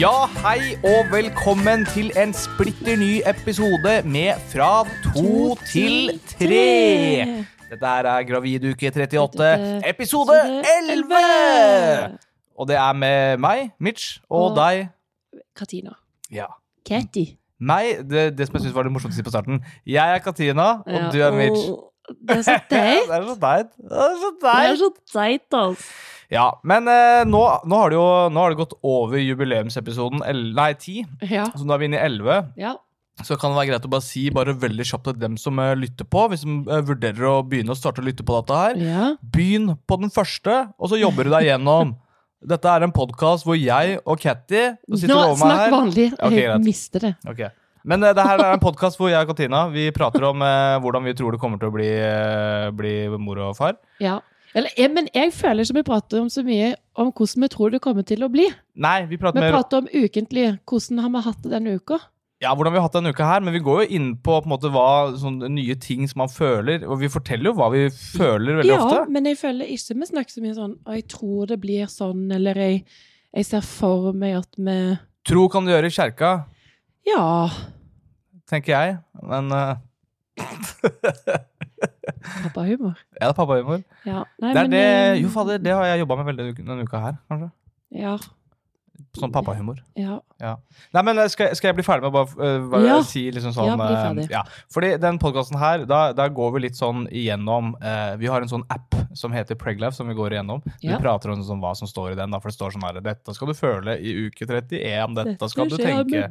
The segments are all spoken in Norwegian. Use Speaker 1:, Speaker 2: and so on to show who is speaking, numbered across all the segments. Speaker 1: Ja, hei og velkommen til en splitter ny episode med Fra to til tre. Dette her er Graviduke 38, episode 11! Og det er med meg, Mitch, og
Speaker 2: Og-
Speaker 1: deg.
Speaker 2: Katina.
Speaker 1: Ja.
Speaker 2: Katy.
Speaker 1: Meg, det, det som jeg synes var det morsomste å si på starten. Jeg er Katina, og du er Mitch.
Speaker 2: Det er så
Speaker 1: Det
Speaker 2: teit.
Speaker 1: er så teit. Det er så
Speaker 2: Det
Speaker 1: teit.
Speaker 2: er så teit, altså.
Speaker 1: Ja, men eh, nå, nå har det jo nå har det gått over jubileumsepisoden, el- nei, 10,
Speaker 2: Ja.
Speaker 1: så nå er vi inne i 11.
Speaker 2: ja.
Speaker 1: Så kan det være greit å bare si bare veldig kjapt til dem som eh, lytter på, hvis de eh, vurderer å begynne å starte å lytte på dette her.
Speaker 2: Ja.
Speaker 1: Begynn på den første, og så jobber du deg gjennom. Dette er en podkast hvor jeg og Katty som
Speaker 2: Nå
Speaker 1: sitter over meg
Speaker 2: snakk
Speaker 1: her.
Speaker 2: vanlig.
Speaker 1: Ok,
Speaker 2: Jeg
Speaker 1: greit.
Speaker 2: mister det.
Speaker 1: Ok. Men eh, det her er en podkast hvor jeg og Katina vi prater om eh, hvordan vi tror det kommer til å bli, eh, bli mor og far.
Speaker 2: Ja. Eller, eh, men jeg føler ikke vi prater om så mye om hvordan vi tror det kommer til å bli.
Speaker 1: Nei, vi
Speaker 2: Vi
Speaker 1: prater mer
Speaker 2: prater om ukentlig. Hvordan har vi hatt det denne uka?
Speaker 1: ja, hvordan vi har hatt denne uka her, men vi går jo inn på, på en måte, hva sånne nye ting som man føler. Og vi forteller jo hva vi føler veldig
Speaker 2: Ja,
Speaker 1: ofte.
Speaker 2: men jeg føler ikke vi snakker så mye sånn Og jeg tror det blir sånn, eller jeg, jeg ser for meg at vi
Speaker 1: Tro kan du gjøre i kjerka,
Speaker 2: Ja.
Speaker 1: tenker jeg. Men eh,
Speaker 2: Pappahumor.
Speaker 1: ja, det er pappahumor.
Speaker 2: Ja. Nei,
Speaker 1: Det er
Speaker 2: men,
Speaker 1: det
Speaker 2: eh,
Speaker 1: Jo, fader, det har jeg jobba med veldig denne uka her, kanskje.
Speaker 2: Ja.
Speaker 1: Sånn pappahumor.
Speaker 2: ja.
Speaker 1: Nei, men eh, skal, skal jeg bli ferdig med å bare, eh, bare
Speaker 2: Ja.
Speaker 1: si liksom sånn
Speaker 2: Ja, bli
Speaker 1: eh,
Speaker 2: ferdig.
Speaker 1: ja. Fordi den podkasten her, da, da går vi litt sånn igjennom eh, Vi har en sånn app som heter Preglaf, som vi går igjennom.
Speaker 2: Ja.
Speaker 1: Vi prater om sånn, hva som står i den, da, for det står sånn her Dette skal du føle i uke 31, dette, skal du tenke.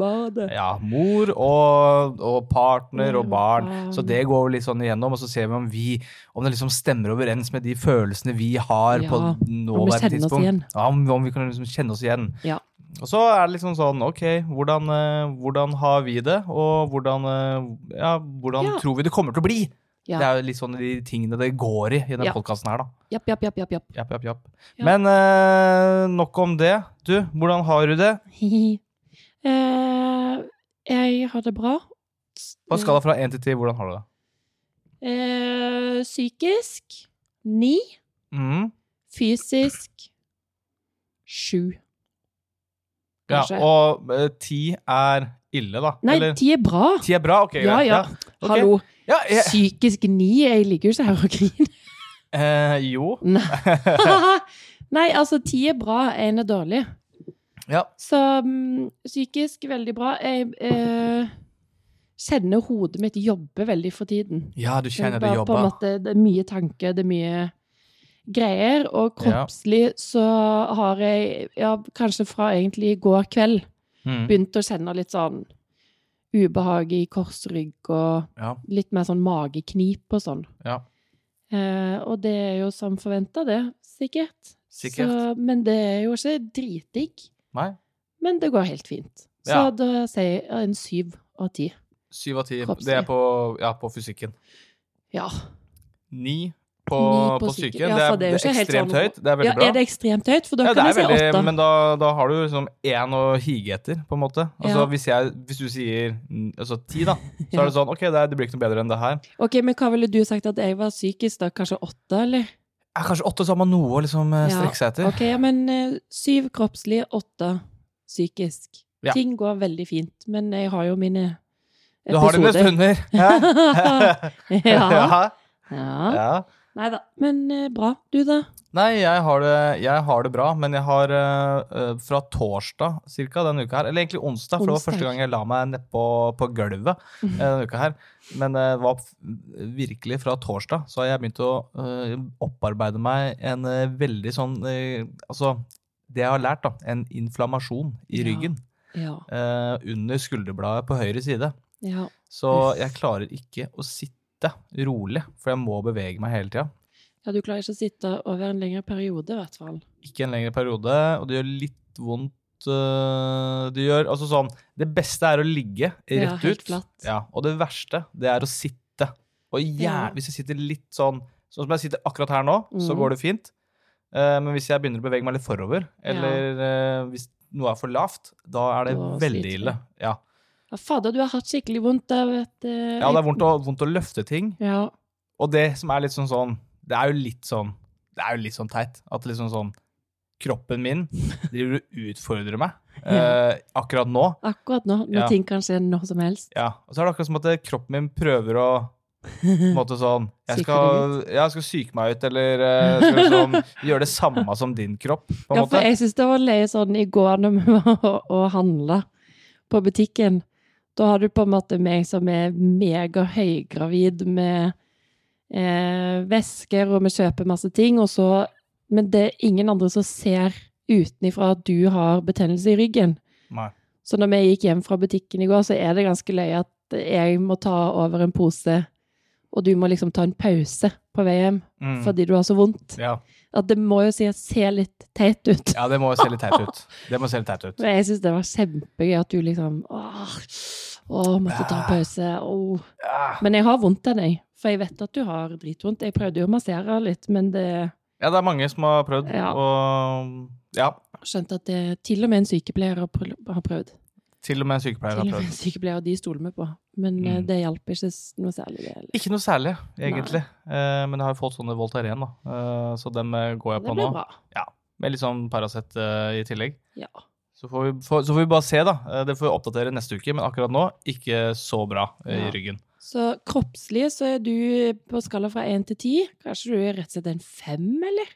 Speaker 1: Ja, mor og, og partner
Speaker 2: Mm,
Speaker 1: og barn. Så det går vi litt sånn igjennom, og så ser vi om vi om det liksom stemmer overens med de følelsene vi har på
Speaker 2: Ja,
Speaker 1: nåværende
Speaker 2: kjenner oss
Speaker 1: tidspunkt.
Speaker 2: igjen.
Speaker 1: Ja, om, om vi kan liksom kjenne oss igjen.
Speaker 2: Ja.
Speaker 1: Og så er det liksom sånn, ok, hvordan, eh, hvordan har vi det, og hvordan, eh, ja, hvordan
Speaker 2: Ja.
Speaker 1: tror vi det kommer til å bli?
Speaker 2: Ja.
Speaker 1: Det er jo litt sånn de tingene det går i i denne
Speaker 2: Ja.
Speaker 1: podcasten her da.
Speaker 2: Japp, japp, japp, japp, japp.
Speaker 1: Japp, japp, japp.
Speaker 2: Ja.
Speaker 1: Men eh, nok om det. Du, hvordan har du det?
Speaker 2: eh, jeg har det bra.
Speaker 1: På en skala fra 1 til 10, hvordan har du det?
Speaker 2: Eh, psykisk ni.
Speaker 1: Mhm.
Speaker 2: Fysisk sju.
Speaker 1: Ja,
Speaker 2: Kanskje.
Speaker 1: og eh, ti er ille, da?
Speaker 2: Nei,
Speaker 1: Eller,
Speaker 2: ti er bra.
Speaker 1: ti er bra? Ok,
Speaker 2: Ja,
Speaker 1: greit.
Speaker 2: ja.
Speaker 1: Ok.
Speaker 2: Hallo.
Speaker 1: Ja, jeg,
Speaker 2: Psykisk ni. Jeg ligger jo ikke her og griner.
Speaker 1: eh, jo.
Speaker 2: Nei. Nei, altså, ti er bra. Én er dårlig.
Speaker 1: Ja.
Speaker 2: Så mm, psykisk veldig bra. Jeg eh, kjenner hodet mitt jobber veldig for tiden.
Speaker 1: ja, du
Speaker 2: Jeg
Speaker 1: kjenner det
Speaker 2: bare på
Speaker 1: jobba.
Speaker 2: en måte, det er mye tanker, det er mye greier. Og kroppslig så har jeg, ja, kanskje fra egentlig i går kveld,
Speaker 1: Mm.
Speaker 2: begynt å kjenne litt sånn ubehag i korsrygg og
Speaker 1: Ja,
Speaker 2: litt mer sånn mageknip og sånn.
Speaker 1: ja.
Speaker 2: Eh, og det er jo som forventa, det. Sikkert.
Speaker 1: Sikkert.
Speaker 2: Så, men det er jo ikke dritdigg.
Speaker 1: Nei.
Speaker 2: Men det går helt fint. Så
Speaker 1: Ja.
Speaker 2: da sier jeg en syv av ti.
Speaker 1: Syv av ti.
Speaker 2: Kroppslig.
Speaker 1: Det er på, ja, på fysikken.
Speaker 2: Ja.
Speaker 1: Ni på,
Speaker 2: Ni
Speaker 1: på,
Speaker 2: på
Speaker 1: psyken.
Speaker 2: psyken. Ja,
Speaker 1: det
Speaker 2: for
Speaker 1: er,
Speaker 2: det er jo
Speaker 1: det er
Speaker 2: ikke helt
Speaker 1: ekstremt
Speaker 2: sånn-
Speaker 1: høyt. Det er veldig
Speaker 2: ja
Speaker 1: bra.
Speaker 2: er det ekstremt høyt? For da
Speaker 1: Ja, det
Speaker 2: kan
Speaker 1: er
Speaker 2: jeg si
Speaker 1: veldig,
Speaker 2: åtte.
Speaker 1: men da, da har du liksom én å hige etter, på en måte. Altså,
Speaker 2: Ja.
Speaker 1: hvis, jeg, hvis du sier mm, altså, ti, da, så er det sånn Ok, det, er- det blir ikke noe bedre enn det her.
Speaker 2: Ok, men hva ville du sagt at jeg var psykisk, da? Kanskje åtte, eller?
Speaker 1: Ja, kanskje åtte, så har man noe å liksom, eh,
Speaker 2: Ja,
Speaker 1: strekke seg etter.
Speaker 2: Ok, ja, men eh, syv kroppslig, åtte psykisk.
Speaker 1: Ja.
Speaker 2: Ting går veldig fint, men jeg har jo mine
Speaker 1: Du har dine
Speaker 2: episoder.
Speaker 1: stunder. Hæ?
Speaker 2: ja.
Speaker 1: ja.
Speaker 2: ja.
Speaker 1: ja.
Speaker 2: Nei da. Men eh, bra. Du, da?
Speaker 1: Nei, jeg har, det, jeg har det bra, men jeg har eh, eh, fra torsdag cirka denne uka her, eller egentlig onsdag, for det var
Speaker 2: Onsdag. Mhm.
Speaker 1: første gang jeg la meg nedpå på gulvet eh, denne uka her, men eh, det var f- virkelig fra torsdag, så har jeg begynt å eh, opparbeide meg en eh, veldig sånn, eh, altså det jeg har lært da, en inflammasjon i
Speaker 2: Ja.
Speaker 1: ryggen
Speaker 2: Ja.
Speaker 1: eh, under skulderbladet på høyre side.
Speaker 2: ja.
Speaker 1: Så
Speaker 2: Uff.
Speaker 1: jeg klarer ikke å sitte rolig, for jeg må bevege meg hele tida.
Speaker 2: Ja, du klarer ikke å sitte over en lengre periode, i hvert fall.
Speaker 1: ikke en lengre periode, og det gjør litt vondt øh, Det gjør altså sånn Det beste er å ligge rett
Speaker 2: Ja, helt
Speaker 1: ut.
Speaker 2: flatt.
Speaker 1: Ja, og det verste, det er å sitte. Og gjerne,
Speaker 2: Ja.
Speaker 1: hvis jeg sitter litt sånn Sånn som jeg sitter akkurat her nå, så
Speaker 2: Mm.
Speaker 1: går det fint. Eh, men hvis jeg begynner å bevege meg litt forover, eller eh, hvis noe er for lavt, da er det
Speaker 2: Da
Speaker 1: veldig
Speaker 2: sliter
Speaker 1: ille. Ja.
Speaker 2: Ja, fader, du har hatt skikkelig vondt av et eh,
Speaker 1: ja, det er vondt å, vondt å løfte ting.
Speaker 2: Ja.
Speaker 1: Og det som er litt sånn sånn Det er jo litt sånn Det er jo litt sånn teit. At liksom sånn kroppen min driver og utfordrer meg eh, akkurat nå.
Speaker 2: Akkurat nå, når
Speaker 1: Ja.
Speaker 2: ting kan skje når som helst.
Speaker 1: Ja, og så er det akkurat som at eh, kroppen min prøver å på en måte sånn Jeg
Speaker 2: Syke
Speaker 1: skal, ja, jeg skal syke meg ut, eller eh, skal liksom, gjøre det samme som din kropp, på en
Speaker 2: Ja, for
Speaker 1: måte.
Speaker 2: jeg syns det var litt sånn i går når vi var og- og handla på butikken. Da har du på en måte meg som er megahøygravid med eh, vesker, og vi kjøper masse ting, og så Men det er ingen andre som ser utenifra at du har betennelse i ryggen.
Speaker 1: Nei.
Speaker 2: Så når vi gikk hjem fra butikken i går, så er det ganske løye at jeg må ta over en pose, og du må liksom ta en pause på vei hjem
Speaker 1: Mm.
Speaker 2: fordi du har så vondt.
Speaker 1: Ja.
Speaker 2: At det må jo si at se litt teit ut.
Speaker 1: ja, det må se litt teit ut. Det må se litt teit ut.
Speaker 2: Men jeg syns det var kjempegøy at du liksom Åh, åh måtte ta en pause. Åh.
Speaker 1: Ja.
Speaker 2: Men jeg har vondt av deg, for jeg vet at du har dritvondt. Jeg prøvde jo å massere litt, men det
Speaker 1: Ja, det er mange som har prøvd,
Speaker 2: Ja.
Speaker 1: og ja,
Speaker 2: skjønte at det til og med en sykepleier har prø- har prøvd.
Speaker 1: til og med en sykepleier
Speaker 2: Til og
Speaker 1: har
Speaker 2: med
Speaker 1: prøvd.
Speaker 2: en sykepleier, og de stoler vi på. Men eh,
Speaker 1: Mm.
Speaker 2: det hjalp ikke s- noe særlig. det heller.
Speaker 1: Ikke noe særlig, egentlig. Eh, men jeg har jo fått sånne Voltaren, da. Eh, så dem eh, går jeg
Speaker 2: Det
Speaker 1: på
Speaker 2: ble
Speaker 1: nå.
Speaker 2: bra.
Speaker 1: Med litt sånn Paracet eh, i tillegg.
Speaker 2: Ja.
Speaker 1: Så får, vi, får, så får vi bare se, da. Eh, Det får vi oppdatere neste uke, men akkurat nå ikke så bra eh,
Speaker 2: Ja.
Speaker 1: i ryggen.
Speaker 2: Så kroppslig så er du på skala fra én til ti. Kanskje du er rett og slett en fem, eller?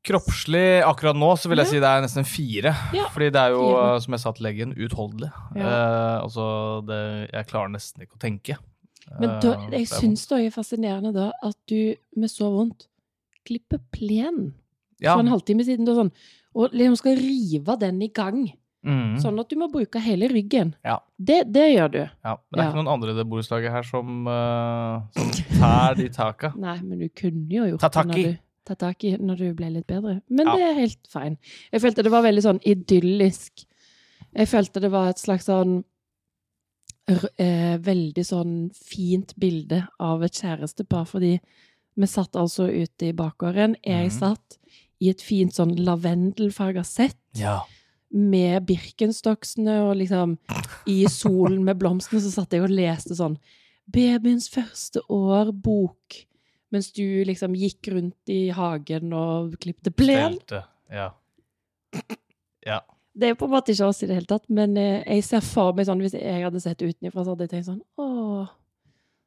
Speaker 1: Kroppslig akkurat nå så vil jeg
Speaker 2: Ja.
Speaker 1: si det er nesten en fire.
Speaker 2: Ja,
Speaker 1: Fordi det er jo,
Speaker 2: fire.
Speaker 1: eh, som jeg sa til legen, uutholdelig. Eh, altså, det, jeg klarer nesten ikke å tenke.
Speaker 2: Men da,
Speaker 1: Eh,
Speaker 2: jeg
Speaker 1: det er
Speaker 2: syns det også er fascinerende da at du med så vondt klipper
Speaker 1: vondt.
Speaker 2: plenen
Speaker 1: ja.
Speaker 2: for en halvtime siden. Og, sånn, og liksom skal rive den i gang,
Speaker 1: Mm.
Speaker 2: sånn at du må bruke hele ryggen.
Speaker 1: Ja.
Speaker 2: Det, det gjør du.
Speaker 1: Ja, men det er
Speaker 2: Ja.
Speaker 1: ikke noen andre i det borettslaget her som, eh, som tær de taka.
Speaker 2: Nei, men du kunne jo gjort
Speaker 1: Ta tak
Speaker 2: det
Speaker 1: i.
Speaker 2: når du, ta tak i når du ble litt bedre. Men
Speaker 1: Ja.
Speaker 2: det er helt fine. Jeg følte det var veldig sånn idyllisk. Jeg følte det var et slags sånn r- eh, Veldig sånn fint bilde av et kjærestepar, fordi vi satt altså ute i bakgården. Jeg
Speaker 1: Mhm.
Speaker 2: satt i et fint sånn lavendelfarga sett
Speaker 1: Ja.
Speaker 2: med Birkenstocksene og liksom i solen med blomstene, så satt jeg og leste sånn Babyens første år-bok. Mens du liksom gikk rundt i hagen og klipte plen.
Speaker 1: Telte. Ja.
Speaker 2: Det er på en måte ikke oss i det hele tatt, men eh, jeg ser for meg sånn hvis jeg hadde sett utenfra, så hadde jeg tenkt sånn Å,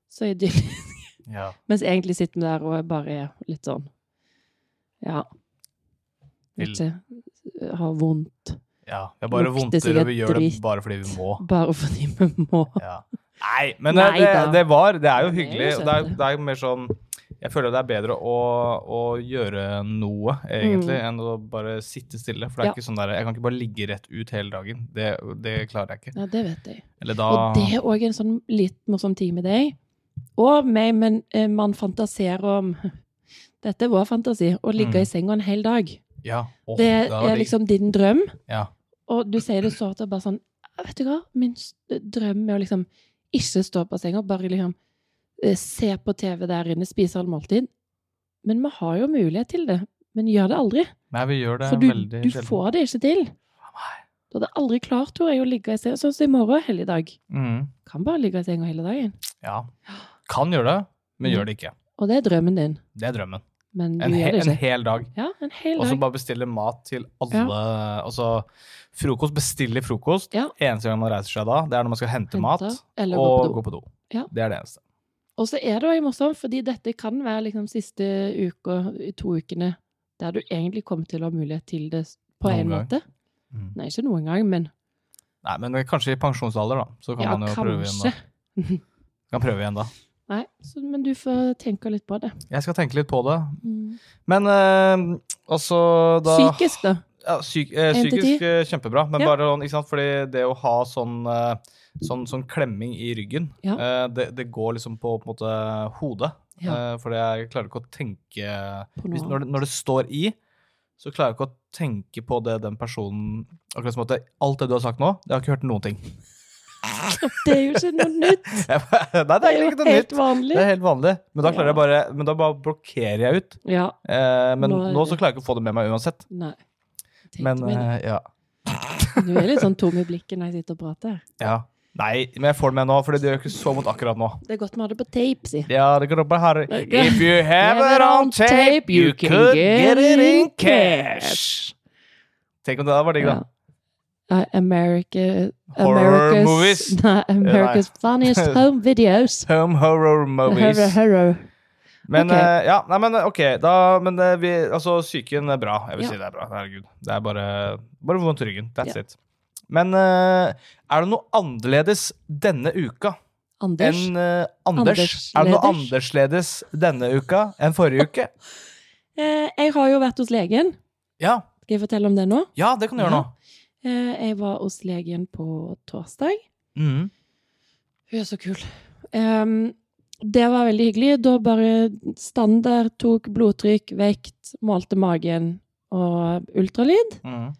Speaker 2: så idyllisk.
Speaker 1: ja.
Speaker 2: Mens egentlig sitter vi der og er bare er litt sånn Ja.
Speaker 1: Vill.
Speaker 2: Ikke har vondt.
Speaker 1: ja. Vi har bare
Speaker 2: Lukter
Speaker 1: vondtere, og vi
Speaker 2: sikkert
Speaker 1: gjør det
Speaker 2: dritt.
Speaker 1: bare fordi vi må.
Speaker 2: Bare fordi vi må.
Speaker 1: Ja. Nei, men
Speaker 2: Nei
Speaker 1: det,
Speaker 2: da.
Speaker 1: det var Det er jo
Speaker 2: Det er jo
Speaker 1: hyggelig. og Det er,
Speaker 2: søtt, det.
Speaker 1: det er jo mer sånn Jeg føler det er bedre å, å gjøre noe, egentlig, enn å bare sitte stille. For det er
Speaker 2: Mm. Ja.
Speaker 1: ikke sånn der, jeg kan ikke bare ligge rett ut hele dagen. Det, det klarer jeg ikke.
Speaker 2: Ja, det vet jeg.
Speaker 1: Eller da
Speaker 2: Og det er òg en sånn litt morsom tid med deg og meg, men eh, man fantaserer om Dette er vår fantasi. Å ligge
Speaker 1: Mm.
Speaker 2: i senga en hel dag.
Speaker 1: Ja. Åh,
Speaker 2: det
Speaker 1: da var
Speaker 2: er
Speaker 1: digg.
Speaker 2: liksom din drøm,
Speaker 1: ja.
Speaker 2: og du sier det så at det er bare sånn Vet du hva, min s- drøm er å liksom ikke stå på senga, bare liksom eh, se på TV der inne, spise et måltid. Men vi har jo mulighet til det. Men gjør det aldri.
Speaker 1: Nei, vi gjør det
Speaker 2: For du,
Speaker 1: veldig
Speaker 2: du
Speaker 1: sjelden.
Speaker 2: får det ikke til. Du hadde aldri klart, tror jeg, å ligge i senga. Sånn som i morgen, helligdag.
Speaker 1: Mm.
Speaker 2: Kan bare ligge i senga hele dagen.
Speaker 1: Ja. Kan gjøre det, men gjør det ikke.
Speaker 2: Og det er drømmen din,
Speaker 1: Det er drømmen.
Speaker 2: men du
Speaker 1: En, he
Speaker 2: gjør det
Speaker 1: en
Speaker 2: ikke.
Speaker 1: hel dag.
Speaker 2: ja, en hel
Speaker 1: Og så
Speaker 2: dag.
Speaker 1: bare bestille mat til alle Altså frokost. Bestille frokost.
Speaker 2: Ja.
Speaker 1: Eneste gang man reiser seg da, det er når man skal hente, mat
Speaker 2: Hente, eller gå
Speaker 1: og
Speaker 2: på do.
Speaker 1: gå på do.
Speaker 2: Ja.
Speaker 1: Det er det eneste.
Speaker 2: Og så er det også morsomt, fordi dette kan være liksom siste uka, to ukene, der du egentlig kommer til å ha mulighet til det på
Speaker 1: Noen
Speaker 2: en
Speaker 1: gang.
Speaker 2: måte.
Speaker 1: Mm.
Speaker 2: Nei, ikke noen gang, men
Speaker 1: Nei, men kanskje i pensjonsalder, da. Så kan
Speaker 2: ja,
Speaker 1: man jo prøve igjen
Speaker 2: kanskje.
Speaker 1: da. Kan prøve igjen da.
Speaker 2: Nei, så, men du får tenke litt på det.
Speaker 1: Jeg skal tenke litt på det.
Speaker 2: Mm.
Speaker 1: Men eh, altså da
Speaker 2: Psykisk, da.
Speaker 1: Ja, psyk, eh,
Speaker 2: En til
Speaker 1: psykisk
Speaker 2: ti.
Speaker 1: eh, kjempebra, men
Speaker 2: Ja.
Speaker 1: bare sånn, ikke sant? Fordi det å ha sånn, eh, sånn, sånn klemming i ryggen,
Speaker 2: Ja.
Speaker 1: eh, det, det går liksom på, på en måte hodet.
Speaker 2: Ja.
Speaker 1: Eh, fordi jeg klarer ikke å tenke
Speaker 2: På
Speaker 1: hvis,
Speaker 2: noe
Speaker 1: når, det, når det står i, så klarer jeg ikke å tenke på det den personen Akkurat som at det- alt det du har sagt nå, jeg har ikke hørt noen ting.
Speaker 2: Det er jo ikke noe nytt.
Speaker 1: Jeg bare, Nei, det er egentlig ikke noe
Speaker 2: helt
Speaker 1: nytt. Det
Speaker 2: vanlig.
Speaker 1: er helt vanlig. Men da, klarer
Speaker 2: Ja.
Speaker 1: jeg bare, men da bare blokkerer jeg ut.
Speaker 2: Ja,
Speaker 1: Eh, men
Speaker 2: Nå
Speaker 1: nå,
Speaker 2: er
Speaker 1: så
Speaker 2: det-
Speaker 1: klarer jeg ikke å få det med meg uansett.
Speaker 2: nei. Tenkte
Speaker 1: Men
Speaker 2: meg det.
Speaker 1: eh, ja.
Speaker 2: Du er litt sånn tom i blikket når jeg sitter og prater.
Speaker 1: Ja. Nei, men jeg får det med nå, for det gjør ikke så vondt akkurat nå.
Speaker 2: Det er godt vi har det på tape, si.
Speaker 1: Ja, det går opp her. If you have it on tape, you could get it in cash. Tenk om det hadde vært digg, da.
Speaker 2: Uh, America,
Speaker 1: Horror
Speaker 2: America's,
Speaker 1: movies?
Speaker 2: Nei, America's funniest home videos.
Speaker 1: Home horror movies.
Speaker 2: Horror, horror.
Speaker 1: Men
Speaker 2: Ok.
Speaker 1: eh, ja, nei, men ok, da Men eh, vi Altså, psyken er bra. Jeg vil
Speaker 2: Ja.
Speaker 1: si det er bra. Herregud. Det er bare, bare vondt i ryggen. That's it. Men eh, er det noe annerledes denne uka
Speaker 2: Anders.
Speaker 1: enn eh, Anders?
Speaker 2: Andersledes.
Speaker 1: Er det noe annerledes denne uka enn forrige uke?
Speaker 2: Eh, jeg har jo vært hos legen.
Speaker 1: Ja,
Speaker 2: Skal jeg fortelle om det nå?
Speaker 1: ja det kan du gjøre nå.
Speaker 2: Eh, jeg var hos legen på torsdag.
Speaker 1: Mhm.
Speaker 2: Hun er så kul. Ehm, det var veldig hyggelig. Da bare standard tok blodtrykk, vekt, målte magen og ultralyd.
Speaker 1: Mhm.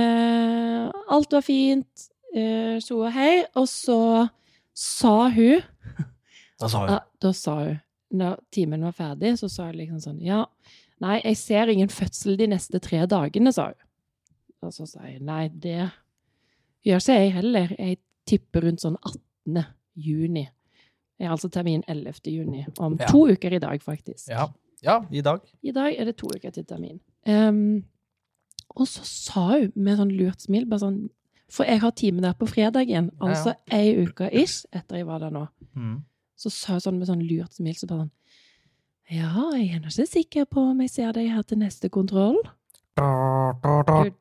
Speaker 2: Eh, alt var fint. Eh, Så og hei. Og så sa hun
Speaker 1: Da sa hun
Speaker 2: ja, Da sa hun, når timen var ferdig, så sa hun liksom sånn Ja, nei, jeg ser ingen fødsel de neste tre dagene, sa hun. Og så sa jeg nei, det gjør ikke jeg heller. Jeg tipper rundt sånn 18. juni. Jeg har altså termin 11. juni. Om
Speaker 1: Ja.
Speaker 2: to uker i dag, faktisk.
Speaker 1: ja. ja, i dag.
Speaker 2: I dag er det to uker til termin. Ehm, og så sa hun med sånn lurt smil, bare sånn For jeg har time der på fredagen,
Speaker 1: Ja, ja.
Speaker 2: altså ei uke ish etter jeg var der nå.
Speaker 1: Mhm.
Speaker 2: Så sa hun sånn med sånn lurt smil, så bare sånn Ja, jeg er nå ikke sikker på om jeg ser deg her til neste kontroll. Og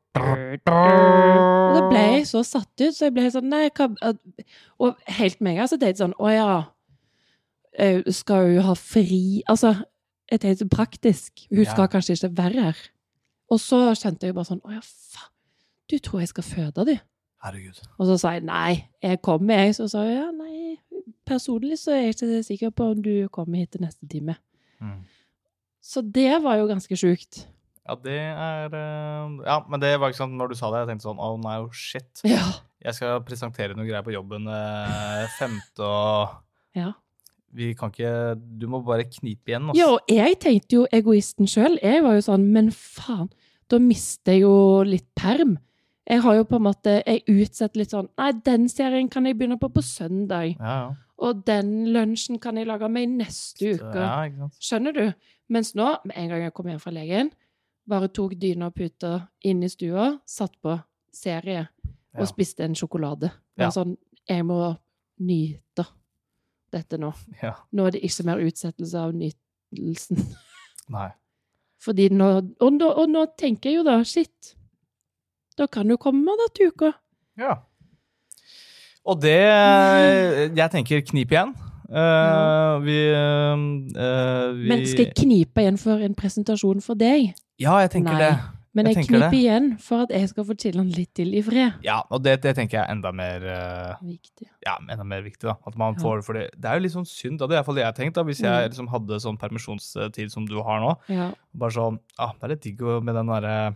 Speaker 2: da ble jeg så satt ut, så jeg ble helt sånn Nei, hva at- Og helt med en gang så tenkte jeg sånn Å ja, eh, skal hun ha fri Altså, jeg tenkte så praktisk. Hun
Speaker 1: Ja.
Speaker 2: skal kanskje ikke være her. Og så skjønte jeg jo bare sånn Å ja, faen. Du tror jeg skal føde, du.
Speaker 1: Herregud.
Speaker 2: Og så sa jeg nei, jeg kommer, jeg. Så sa hun ja, nei, personlig så er jeg ikke sikker på om du kommer hit til neste time.
Speaker 1: Mhm.
Speaker 2: Så det var jo ganske sjukt.
Speaker 1: Ja, det er eh, Ja, men det var ikke sant når du sa det. Jeg tenkte sånn Oh, no, shit.
Speaker 2: Ja.
Speaker 1: Jeg skal presentere noen greier på jobben eh, femte og
Speaker 2: Ja.
Speaker 1: Vi kan ikke Du må bare knipe igjen,
Speaker 2: ja, og jeg tenkte jo egoisten sjøl. Jeg var jo sånn, men faen, da mister jeg jo litt perm. Jeg har jo på en måte Jeg utsetter litt sånn Nei, den serien kan jeg begynne på på søndag.
Speaker 1: Ja,
Speaker 2: Og den lunsjen kan jeg lage meg i neste
Speaker 1: ja.
Speaker 2: uke.
Speaker 1: ja ikke sant?
Speaker 2: Skjønner du? Mens nå, med en gang jeg kom hjem fra legen, bare tok dyna og puta inn i stua, satt på serie og
Speaker 1: Ja.
Speaker 2: spiste en sjokolade.
Speaker 1: Ja.
Speaker 2: Bare sånn, jeg må nyte dette nå.
Speaker 1: Ja.
Speaker 2: Nå er det ikke mer utsettelse av nytelsen.
Speaker 1: Nei.
Speaker 2: Fordi nå, og, nå, og nå tenker jeg jo da, shit, da kan du komme da til uka.
Speaker 1: Ja. Og det Jeg tenker knip igjen. Eh,
Speaker 2: Ja.
Speaker 1: vi, eh, eh, vi
Speaker 2: Men skal jeg knipe igjen for en presentasjon for deg?
Speaker 1: Ja, jeg tenker
Speaker 2: Nei.
Speaker 1: det.
Speaker 2: Men
Speaker 1: Jeg
Speaker 2: jeg,
Speaker 1: tenker det.
Speaker 2: kniper igjen for at jeg skal få chille han litt til i fred.
Speaker 1: Ja, og det, det tenker jeg er enda mer eh,
Speaker 2: Viktig.
Speaker 1: ja, enda mer viktig. da, at man
Speaker 2: Ja.
Speaker 1: får, for det, det er jo litt sånn synd. da, Det er iallfall det jeg har tenkt. da, Hvis jeg
Speaker 2: Mm.
Speaker 1: liksom hadde sånn permisjonstid som du har nå.
Speaker 2: Ja.
Speaker 1: bare sånn, ah, Det er litt digg å- med den derre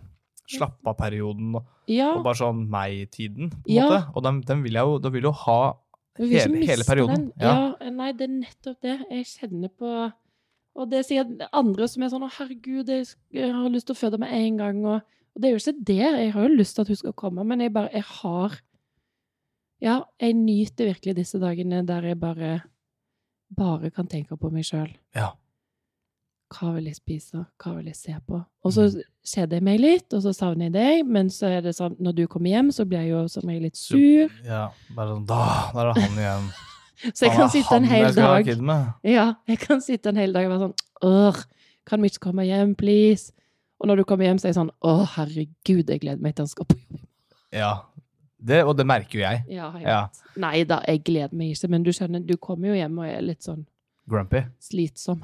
Speaker 1: slappa perioden og,
Speaker 2: ja.
Speaker 1: og bare sånn meg-tiden. på en
Speaker 2: Ja.
Speaker 1: måte. Og den, den vil jeg jo, da vil jeg jo ha
Speaker 2: Vi vil
Speaker 1: Hele-
Speaker 2: ikke
Speaker 1: hele
Speaker 2: miste
Speaker 1: perioden,
Speaker 2: Den. Ja. nei, det er nettopp det. Jeg kjenner på Og det er sikkert andre som er sånn 'Å, herregud, jeg sk- jeg har lyst til å føde med en gang', og, og det er jo ikke det. Jeg har jo lyst til at hun skal komme, men jeg bare Jeg har Ja, jeg nyter virkelig disse dagene der jeg bare bare kan tenke på meg sjøl.
Speaker 1: Ja.
Speaker 2: Hva vil jeg spise? Hva vil jeg se på? Og
Speaker 1: Mm.
Speaker 2: så kjeder jeg meg litt, og så savner jeg deg, men så er det sånn når du kommer hjem, så blir jeg jo som regel litt sur.
Speaker 1: ja, bare sånn, Da da er det han igjen.
Speaker 2: Så jeg
Speaker 1: Han er
Speaker 2: kan sitte en
Speaker 1: han
Speaker 2: hel
Speaker 1: jeg skal ha
Speaker 2: dag
Speaker 1: kid med.
Speaker 2: Ja, jeg kan sitte en hel dag og være sånn Åh, kan vi ikke komme hjem, please? Og når du kommer hjem, så er jeg sånn Å, herregud, jeg gleder meg til han skal på jobb.
Speaker 1: Ja. Det, og det merker jo jeg.
Speaker 2: Ja, jeg
Speaker 1: Ja.
Speaker 2: vet. Nei da, jeg gleder meg ikke, men du skjønner, du kommer jo hjem og er litt sånn
Speaker 1: Grumpy.
Speaker 2: slitsom.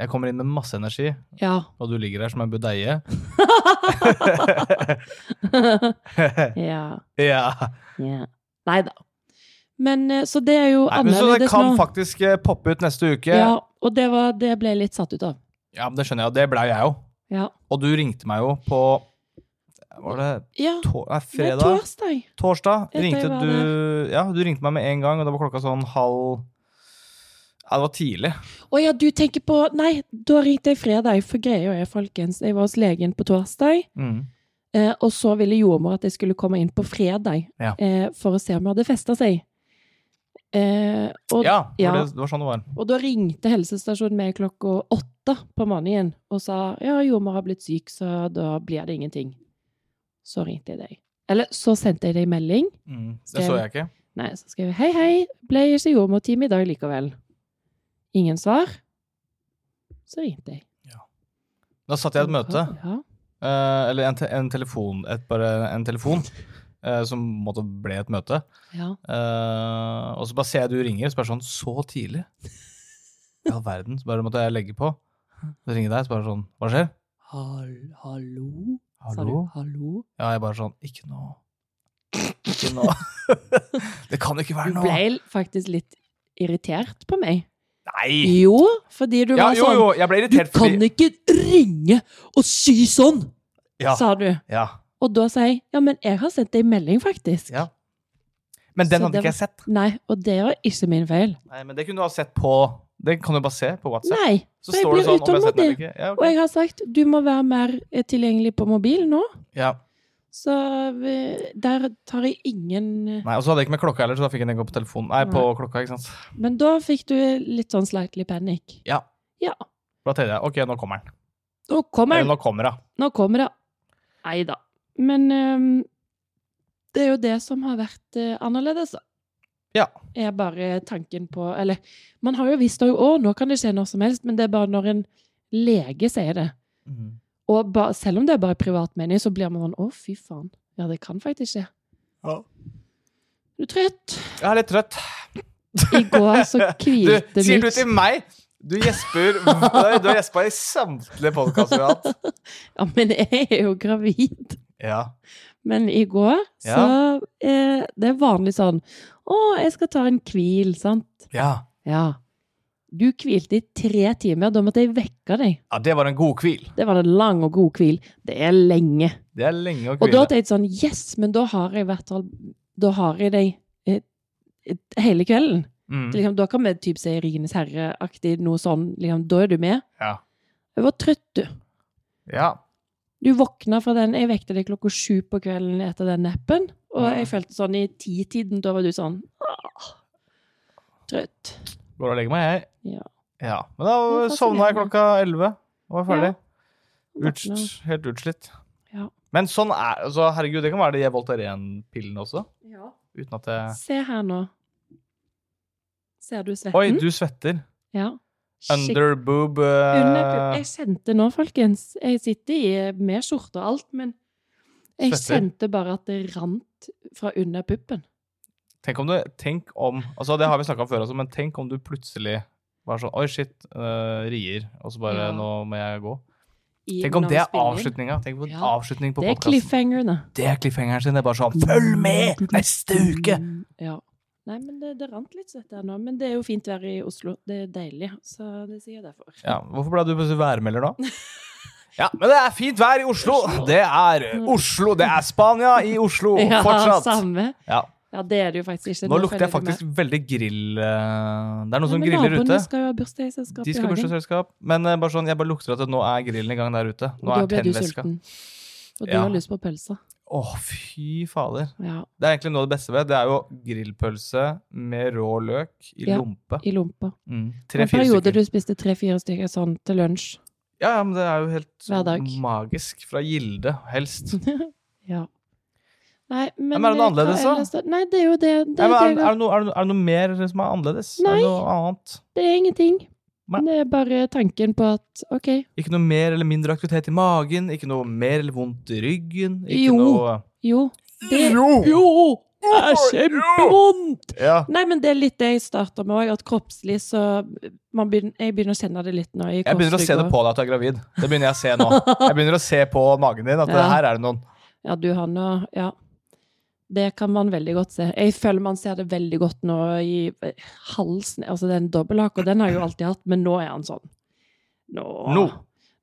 Speaker 1: Jeg kommer inn med masse energi,
Speaker 2: Ja.
Speaker 1: og du ligger der som en budeie.
Speaker 2: ja.
Speaker 1: ja.
Speaker 2: ja. Nei da. Men eh, så det er jo
Speaker 1: Nei, men så det
Speaker 2: annerledes
Speaker 1: kan
Speaker 2: nå.
Speaker 1: faktisk eh, poppe ut neste uke.
Speaker 2: Ja, og det, var, det ble jeg litt satt ut av.
Speaker 1: Ja, men Det skjønner jeg, og det blei jeg jo.
Speaker 2: Ja.
Speaker 1: Og du ringte meg jo på Var det
Speaker 2: ja.
Speaker 1: to nei,
Speaker 2: Det er
Speaker 1: fredag?
Speaker 2: torsdag.
Speaker 1: Torsdag
Speaker 2: Etter jeg
Speaker 1: ringte
Speaker 2: var
Speaker 1: du Ja, du ringte meg med en gang, og det var klokka sånn halv Ja, det var tidlig.
Speaker 2: Å ja, du tenker på Nei, da ringte jeg fredag, for greia er, folkens, jeg var hos legen på torsdag,
Speaker 1: Mm.
Speaker 2: eh, og så ville jordmor at jeg skulle komme inn på fredag
Speaker 1: Ja.
Speaker 2: eh, for å se om jeg hadde festa seg. Eh, og,
Speaker 1: Ja,
Speaker 2: ja.
Speaker 1: for det, det var sånn det var.
Speaker 2: og da ringte helsestasjonen meg klokka åtte på morgenen og sa ja, jordmor har blitt syk, så da blir det ingenting. Så ringte jeg deg. Eller så sendte jeg deg melding.
Speaker 1: Mm. Det
Speaker 2: Skrev-
Speaker 1: så jeg ikke.
Speaker 2: Nei, så skrev jeg hei, hei, ble ikke jordmortime i dag likevel. Ingen svar. Så ringte jeg.
Speaker 1: Da satt jeg i et møte,
Speaker 2: Ja.
Speaker 1: eh, eller en, te en telefon, et, bare en telefon eh, som på en måte ble et møte.
Speaker 2: ja.
Speaker 1: Eh, og så bare ser jeg du ringer, så bare sånn Så tidlig? I all verden. Så bare måtte jeg legge på. Så ringer jeg deg, så bare sånn Hva skjer?
Speaker 2: Hall- hallo? Sa du
Speaker 1: Hallo?
Speaker 2: hallo?
Speaker 1: Ja, jeg bare sånn Ikke nå. Ikke nå. det kan jo ikke være
Speaker 2: Du
Speaker 1: nå.
Speaker 2: ble faktisk litt irritert på meg.
Speaker 1: Nei!
Speaker 2: Jo, fordi du
Speaker 1: Ja,
Speaker 2: var
Speaker 1: jo,
Speaker 2: sånn
Speaker 1: jo, jeg ble
Speaker 2: Du
Speaker 1: irritert
Speaker 2: kan
Speaker 1: fordi
Speaker 2: ikke ringe og si sånn!
Speaker 1: Ja,
Speaker 2: sa du.
Speaker 1: ja,
Speaker 2: Og da sa jeg ja, men jeg har sendt deg melding, faktisk.
Speaker 1: ja. Men den
Speaker 2: Så
Speaker 1: hadde
Speaker 2: det
Speaker 1: ikke jeg sett.
Speaker 2: Nei, og det var ikke min feil.
Speaker 1: Nei, men det kunne du ha sett på Det kan du bare se på WhatsApp.
Speaker 2: Nei.
Speaker 1: Så
Speaker 2: for jeg
Speaker 1: står det
Speaker 2: blir
Speaker 1: sånn om jeg har sett den eller
Speaker 2: utålmodig.
Speaker 1: ikke. Ja, ok.
Speaker 2: Og jeg har sagt du må være mer eh, tilgjengelig på mobil nå.
Speaker 1: ja.
Speaker 2: Så eh, der tar jeg ingen eh."
Speaker 1: Nei, Og så hadde jeg ikke med klokka heller, så da fikk jeg den gå på telefonen. Nei, på klokka, ikke sant.
Speaker 2: Men da fikk du litt sånn slightly panic.
Speaker 1: Ja.
Speaker 2: Ja.
Speaker 1: Da tenkte jeg OK, nå kommer den.
Speaker 2: Nå kommer
Speaker 1: Eller
Speaker 2: det.
Speaker 1: nå kommer hun.
Speaker 2: Nå kommer det. Nei da. Men ehm, det er jo det som har vært eh, annerledes, da.
Speaker 1: Ja.
Speaker 2: Er bare tanken på Eller man har jo visst òg Å, nå kan det skje når som helst, men det er bare når en lege sier det. Mm. Og ba, selv om det er bare privat mening, så blir man sånn Å, fy faen. Ja, det kan faktisk skje.
Speaker 1: Ja.
Speaker 2: Du er trøtt.
Speaker 1: Jeg er litt trøtt.
Speaker 2: I går så
Speaker 1: Du,
Speaker 2: hvilte mitt
Speaker 1: sier du til meg? Du gjesper Du har gjespa i samtlige podkaster vi har hatt.
Speaker 2: Ja, men jeg er jo gravid.
Speaker 1: Ja.
Speaker 2: Men i går så eh, Det er vanlig sånn Å, jeg skal ta en hvil, sant?
Speaker 1: ja.
Speaker 2: Ja. Du hvilte i tre timer. Da måtte jeg vekke deg.
Speaker 1: Ja, det var en god hvil.
Speaker 2: Det var en lang og god hvil. Det er lenge.
Speaker 1: Det er lenge å
Speaker 2: Og da
Speaker 1: hvile.
Speaker 2: tenkte jeg sånn Yes, men da har jeg i hvert fall Da har jeg deg eh, eh, hele kvelden.
Speaker 1: Mm.
Speaker 2: Så Liksom, da kan vi typ si Ringenes herre-aktig, noe sånn. Liksom, da er du med.
Speaker 1: Ja.
Speaker 2: Jeg var trøtt, du.
Speaker 1: ja.
Speaker 2: Du våkna fra den Jeg vekte deg klokka sju på kvelden etter den nappen. Og
Speaker 1: Ja.
Speaker 2: jeg følte sånn i titiden, da var du sånn «Åh, Trøtt.
Speaker 1: Går og legger meg, jeg.
Speaker 2: Ja.
Speaker 1: Ja. Men da
Speaker 2: Det er
Speaker 1: sovna jeg
Speaker 2: fascinerende.
Speaker 1: klokka elleve og var ferdig. Uts-
Speaker 2: Våkna.
Speaker 1: helt utslitt.
Speaker 2: Ja.
Speaker 1: Men sånn er altså, Herregud, det kan være de Voltaren-pillene også. Uten at jeg
Speaker 2: Se her nå. Ser du svetten?
Speaker 1: Oi, du svetter.
Speaker 2: Ja. Skikkelig
Speaker 1: Underboob
Speaker 2: underpupp.
Speaker 1: eh,
Speaker 2: Jeg kjente nå, folkens Jeg sitter i, med skjorte og alt, men jeg
Speaker 1: Svetter.
Speaker 2: kjente bare at det rant fra under puppen.
Speaker 1: Tenk om du Tenk om Altså, det har vi snakka om før, altså, men tenk om du plutselig var sånn Oi, shit, eh, rier. Og så bare
Speaker 2: Ja.
Speaker 1: Nå må jeg gå.
Speaker 2: i
Speaker 1: Tenk om det er
Speaker 2: navspillingen.
Speaker 1: avslutninga. Tenk på
Speaker 2: Ja.
Speaker 1: avslutning på
Speaker 2: Det er
Speaker 1: podkasten.
Speaker 2: cliffhangerne.
Speaker 1: Det er cliffhangeren sin. Det er bare sånn Følg med neste uke!
Speaker 2: Mm, Ja. Nei, men det, det rant litt svett her nå. Men det er jo fint vær i Oslo. Det er deilig, så det sier jeg derfor.
Speaker 1: Ja, Hvorfor ble du plutselig værmelder da? Ja, men det er fint vær i Oslo! Det er Oslo! Det er Spania i Oslo
Speaker 2: Ja,
Speaker 1: fortsatt!
Speaker 2: samme.
Speaker 1: Ja.
Speaker 2: Ja, det er det jo faktisk ikke.
Speaker 1: Nå lukter jeg
Speaker 2: følger du
Speaker 1: faktisk veldig grill eh, Det er
Speaker 2: med.
Speaker 1: noen som
Speaker 2: Nei, men
Speaker 1: griller ute.
Speaker 2: Naboene skal jo ha bursdagsselskap
Speaker 1: De
Speaker 2: i
Speaker 1: skal ha
Speaker 2: hagen.
Speaker 1: bursdagsselskap. Men eh, bare sånn, jeg bare lukter at det nå er grillen i gang der ute.
Speaker 2: Og
Speaker 1: Nå
Speaker 2: da
Speaker 1: er
Speaker 2: blir du
Speaker 1: tennveska. Å,
Speaker 2: sulten. Og du
Speaker 1: Ja.
Speaker 2: har lyst på pølse.
Speaker 1: fy fader.
Speaker 2: Ja,
Speaker 1: Det er egentlig noe av det beste ved. Det er jo grillpølse med rå løk i
Speaker 2: Ja.
Speaker 1: lompe.
Speaker 2: i lompa.
Speaker 1: Mm.
Speaker 2: En
Speaker 1: Tre-fire
Speaker 2: periode
Speaker 1: stykker.
Speaker 2: du spiste tre-fire stykker sånn til lunsj.
Speaker 1: Ja, ja, men det er jo
Speaker 2: Hver dag.
Speaker 1: helt magisk. Fra Gilde, helst.
Speaker 2: Ja. Nei, men
Speaker 1: Men er det noe
Speaker 2: eh, hva
Speaker 1: annerledes da?
Speaker 2: ellers Nei, det er jo det. Det,
Speaker 1: Ja, men
Speaker 2: er,
Speaker 1: er, er, det noe, er, det noe, er det noe mer som er annerledes? Er
Speaker 2: Nei.
Speaker 1: det noe annet?
Speaker 2: det er ingenting.
Speaker 1: Nei.
Speaker 2: Det er bare tanken på at OK,
Speaker 1: Ikke noe mer eller mindre aktivitet i magen? Ikke noe mer eller vondt i ryggen? Ikke
Speaker 2: Jo.
Speaker 1: noe
Speaker 2: jo. Det,
Speaker 1: Jo!
Speaker 2: Jo! Det er
Speaker 1: Oi,
Speaker 2: kjempevondt!
Speaker 1: Ja.
Speaker 2: Nei, men det er litt det jeg starter med òg, at kroppslig så man begynner, Jeg begynner å kjenne det litt nå. I
Speaker 1: Jeg begynner å se det
Speaker 2: korsryggen.
Speaker 1: på deg at du er gravid. Det begynner jeg å se nå. Jeg begynner å se på magen din at
Speaker 2: Ja.
Speaker 1: her er det noen.
Speaker 2: Ja, du har nå Ja. Det kan man veldig godt se. Jeg føler man ser det veldig godt nå i eh, halsen. Altså, det er en dobbelthake, og den har jeg jo alltid hatt, men nå er han sånn. Nå,
Speaker 1: Nå.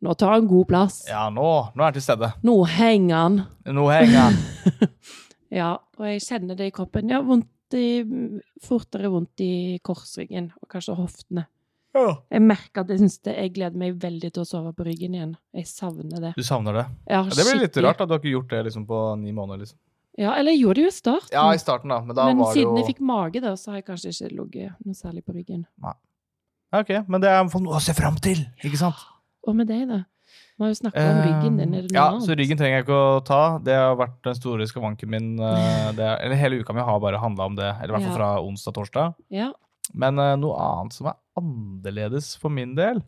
Speaker 2: nå tar han god plass.
Speaker 1: Ja, nå, nå er den til stede.
Speaker 2: Nå henger han.
Speaker 1: Nå henger jeg.
Speaker 2: Ja, og jeg kjenner det i kroppen. Ja, vondt i Fortere vondt i korsryggen, og kanskje hoftene.
Speaker 1: Ja.
Speaker 2: Jeg merker at jeg synes det, jeg gleder meg veldig til å sove på ryggen igjen. Jeg savner det.
Speaker 1: Du savner det.
Speaker 2: Jeg har
Speaker 1: Ja, det blir litt
Speaker 2: skikkelig-
Speaker 1: rart at du har ikke gjort det liksom, på ni måneder. Liksom.
Speaker 2: Ja, eller jeg gjorde det jo i starten.
Speaker 1: Ja, i starten, da. Men da
Speaker 2: men
Speaker 1: var det jo
Speaker 2: siden jeg fikk mage, da, så har jeg kanskje ikke ligget noe særlig på ryggen.
Speaker 1: Ja, Ok, men det er iallfall noe å se fram til, ikke sant? Eh,
Speaker 2: Og med deg, da? Vi har jo snakka om ryggen din. Er det noe
Speaker 1: ja,
Speaker 2: annet?
Speaker 1: så ryggen trenger jeg ikke å ta. Det har vært den store skavanken min. eh, Det, er- eller hele uka mi har bare handla om det. Eller i hvert fall
Speaker 2: Ja.
Speaker 1: fra onsdag-torsdag.
Speaker 2: Ja.
Speaker 1: Men eh, noe annet som er annerledes for min del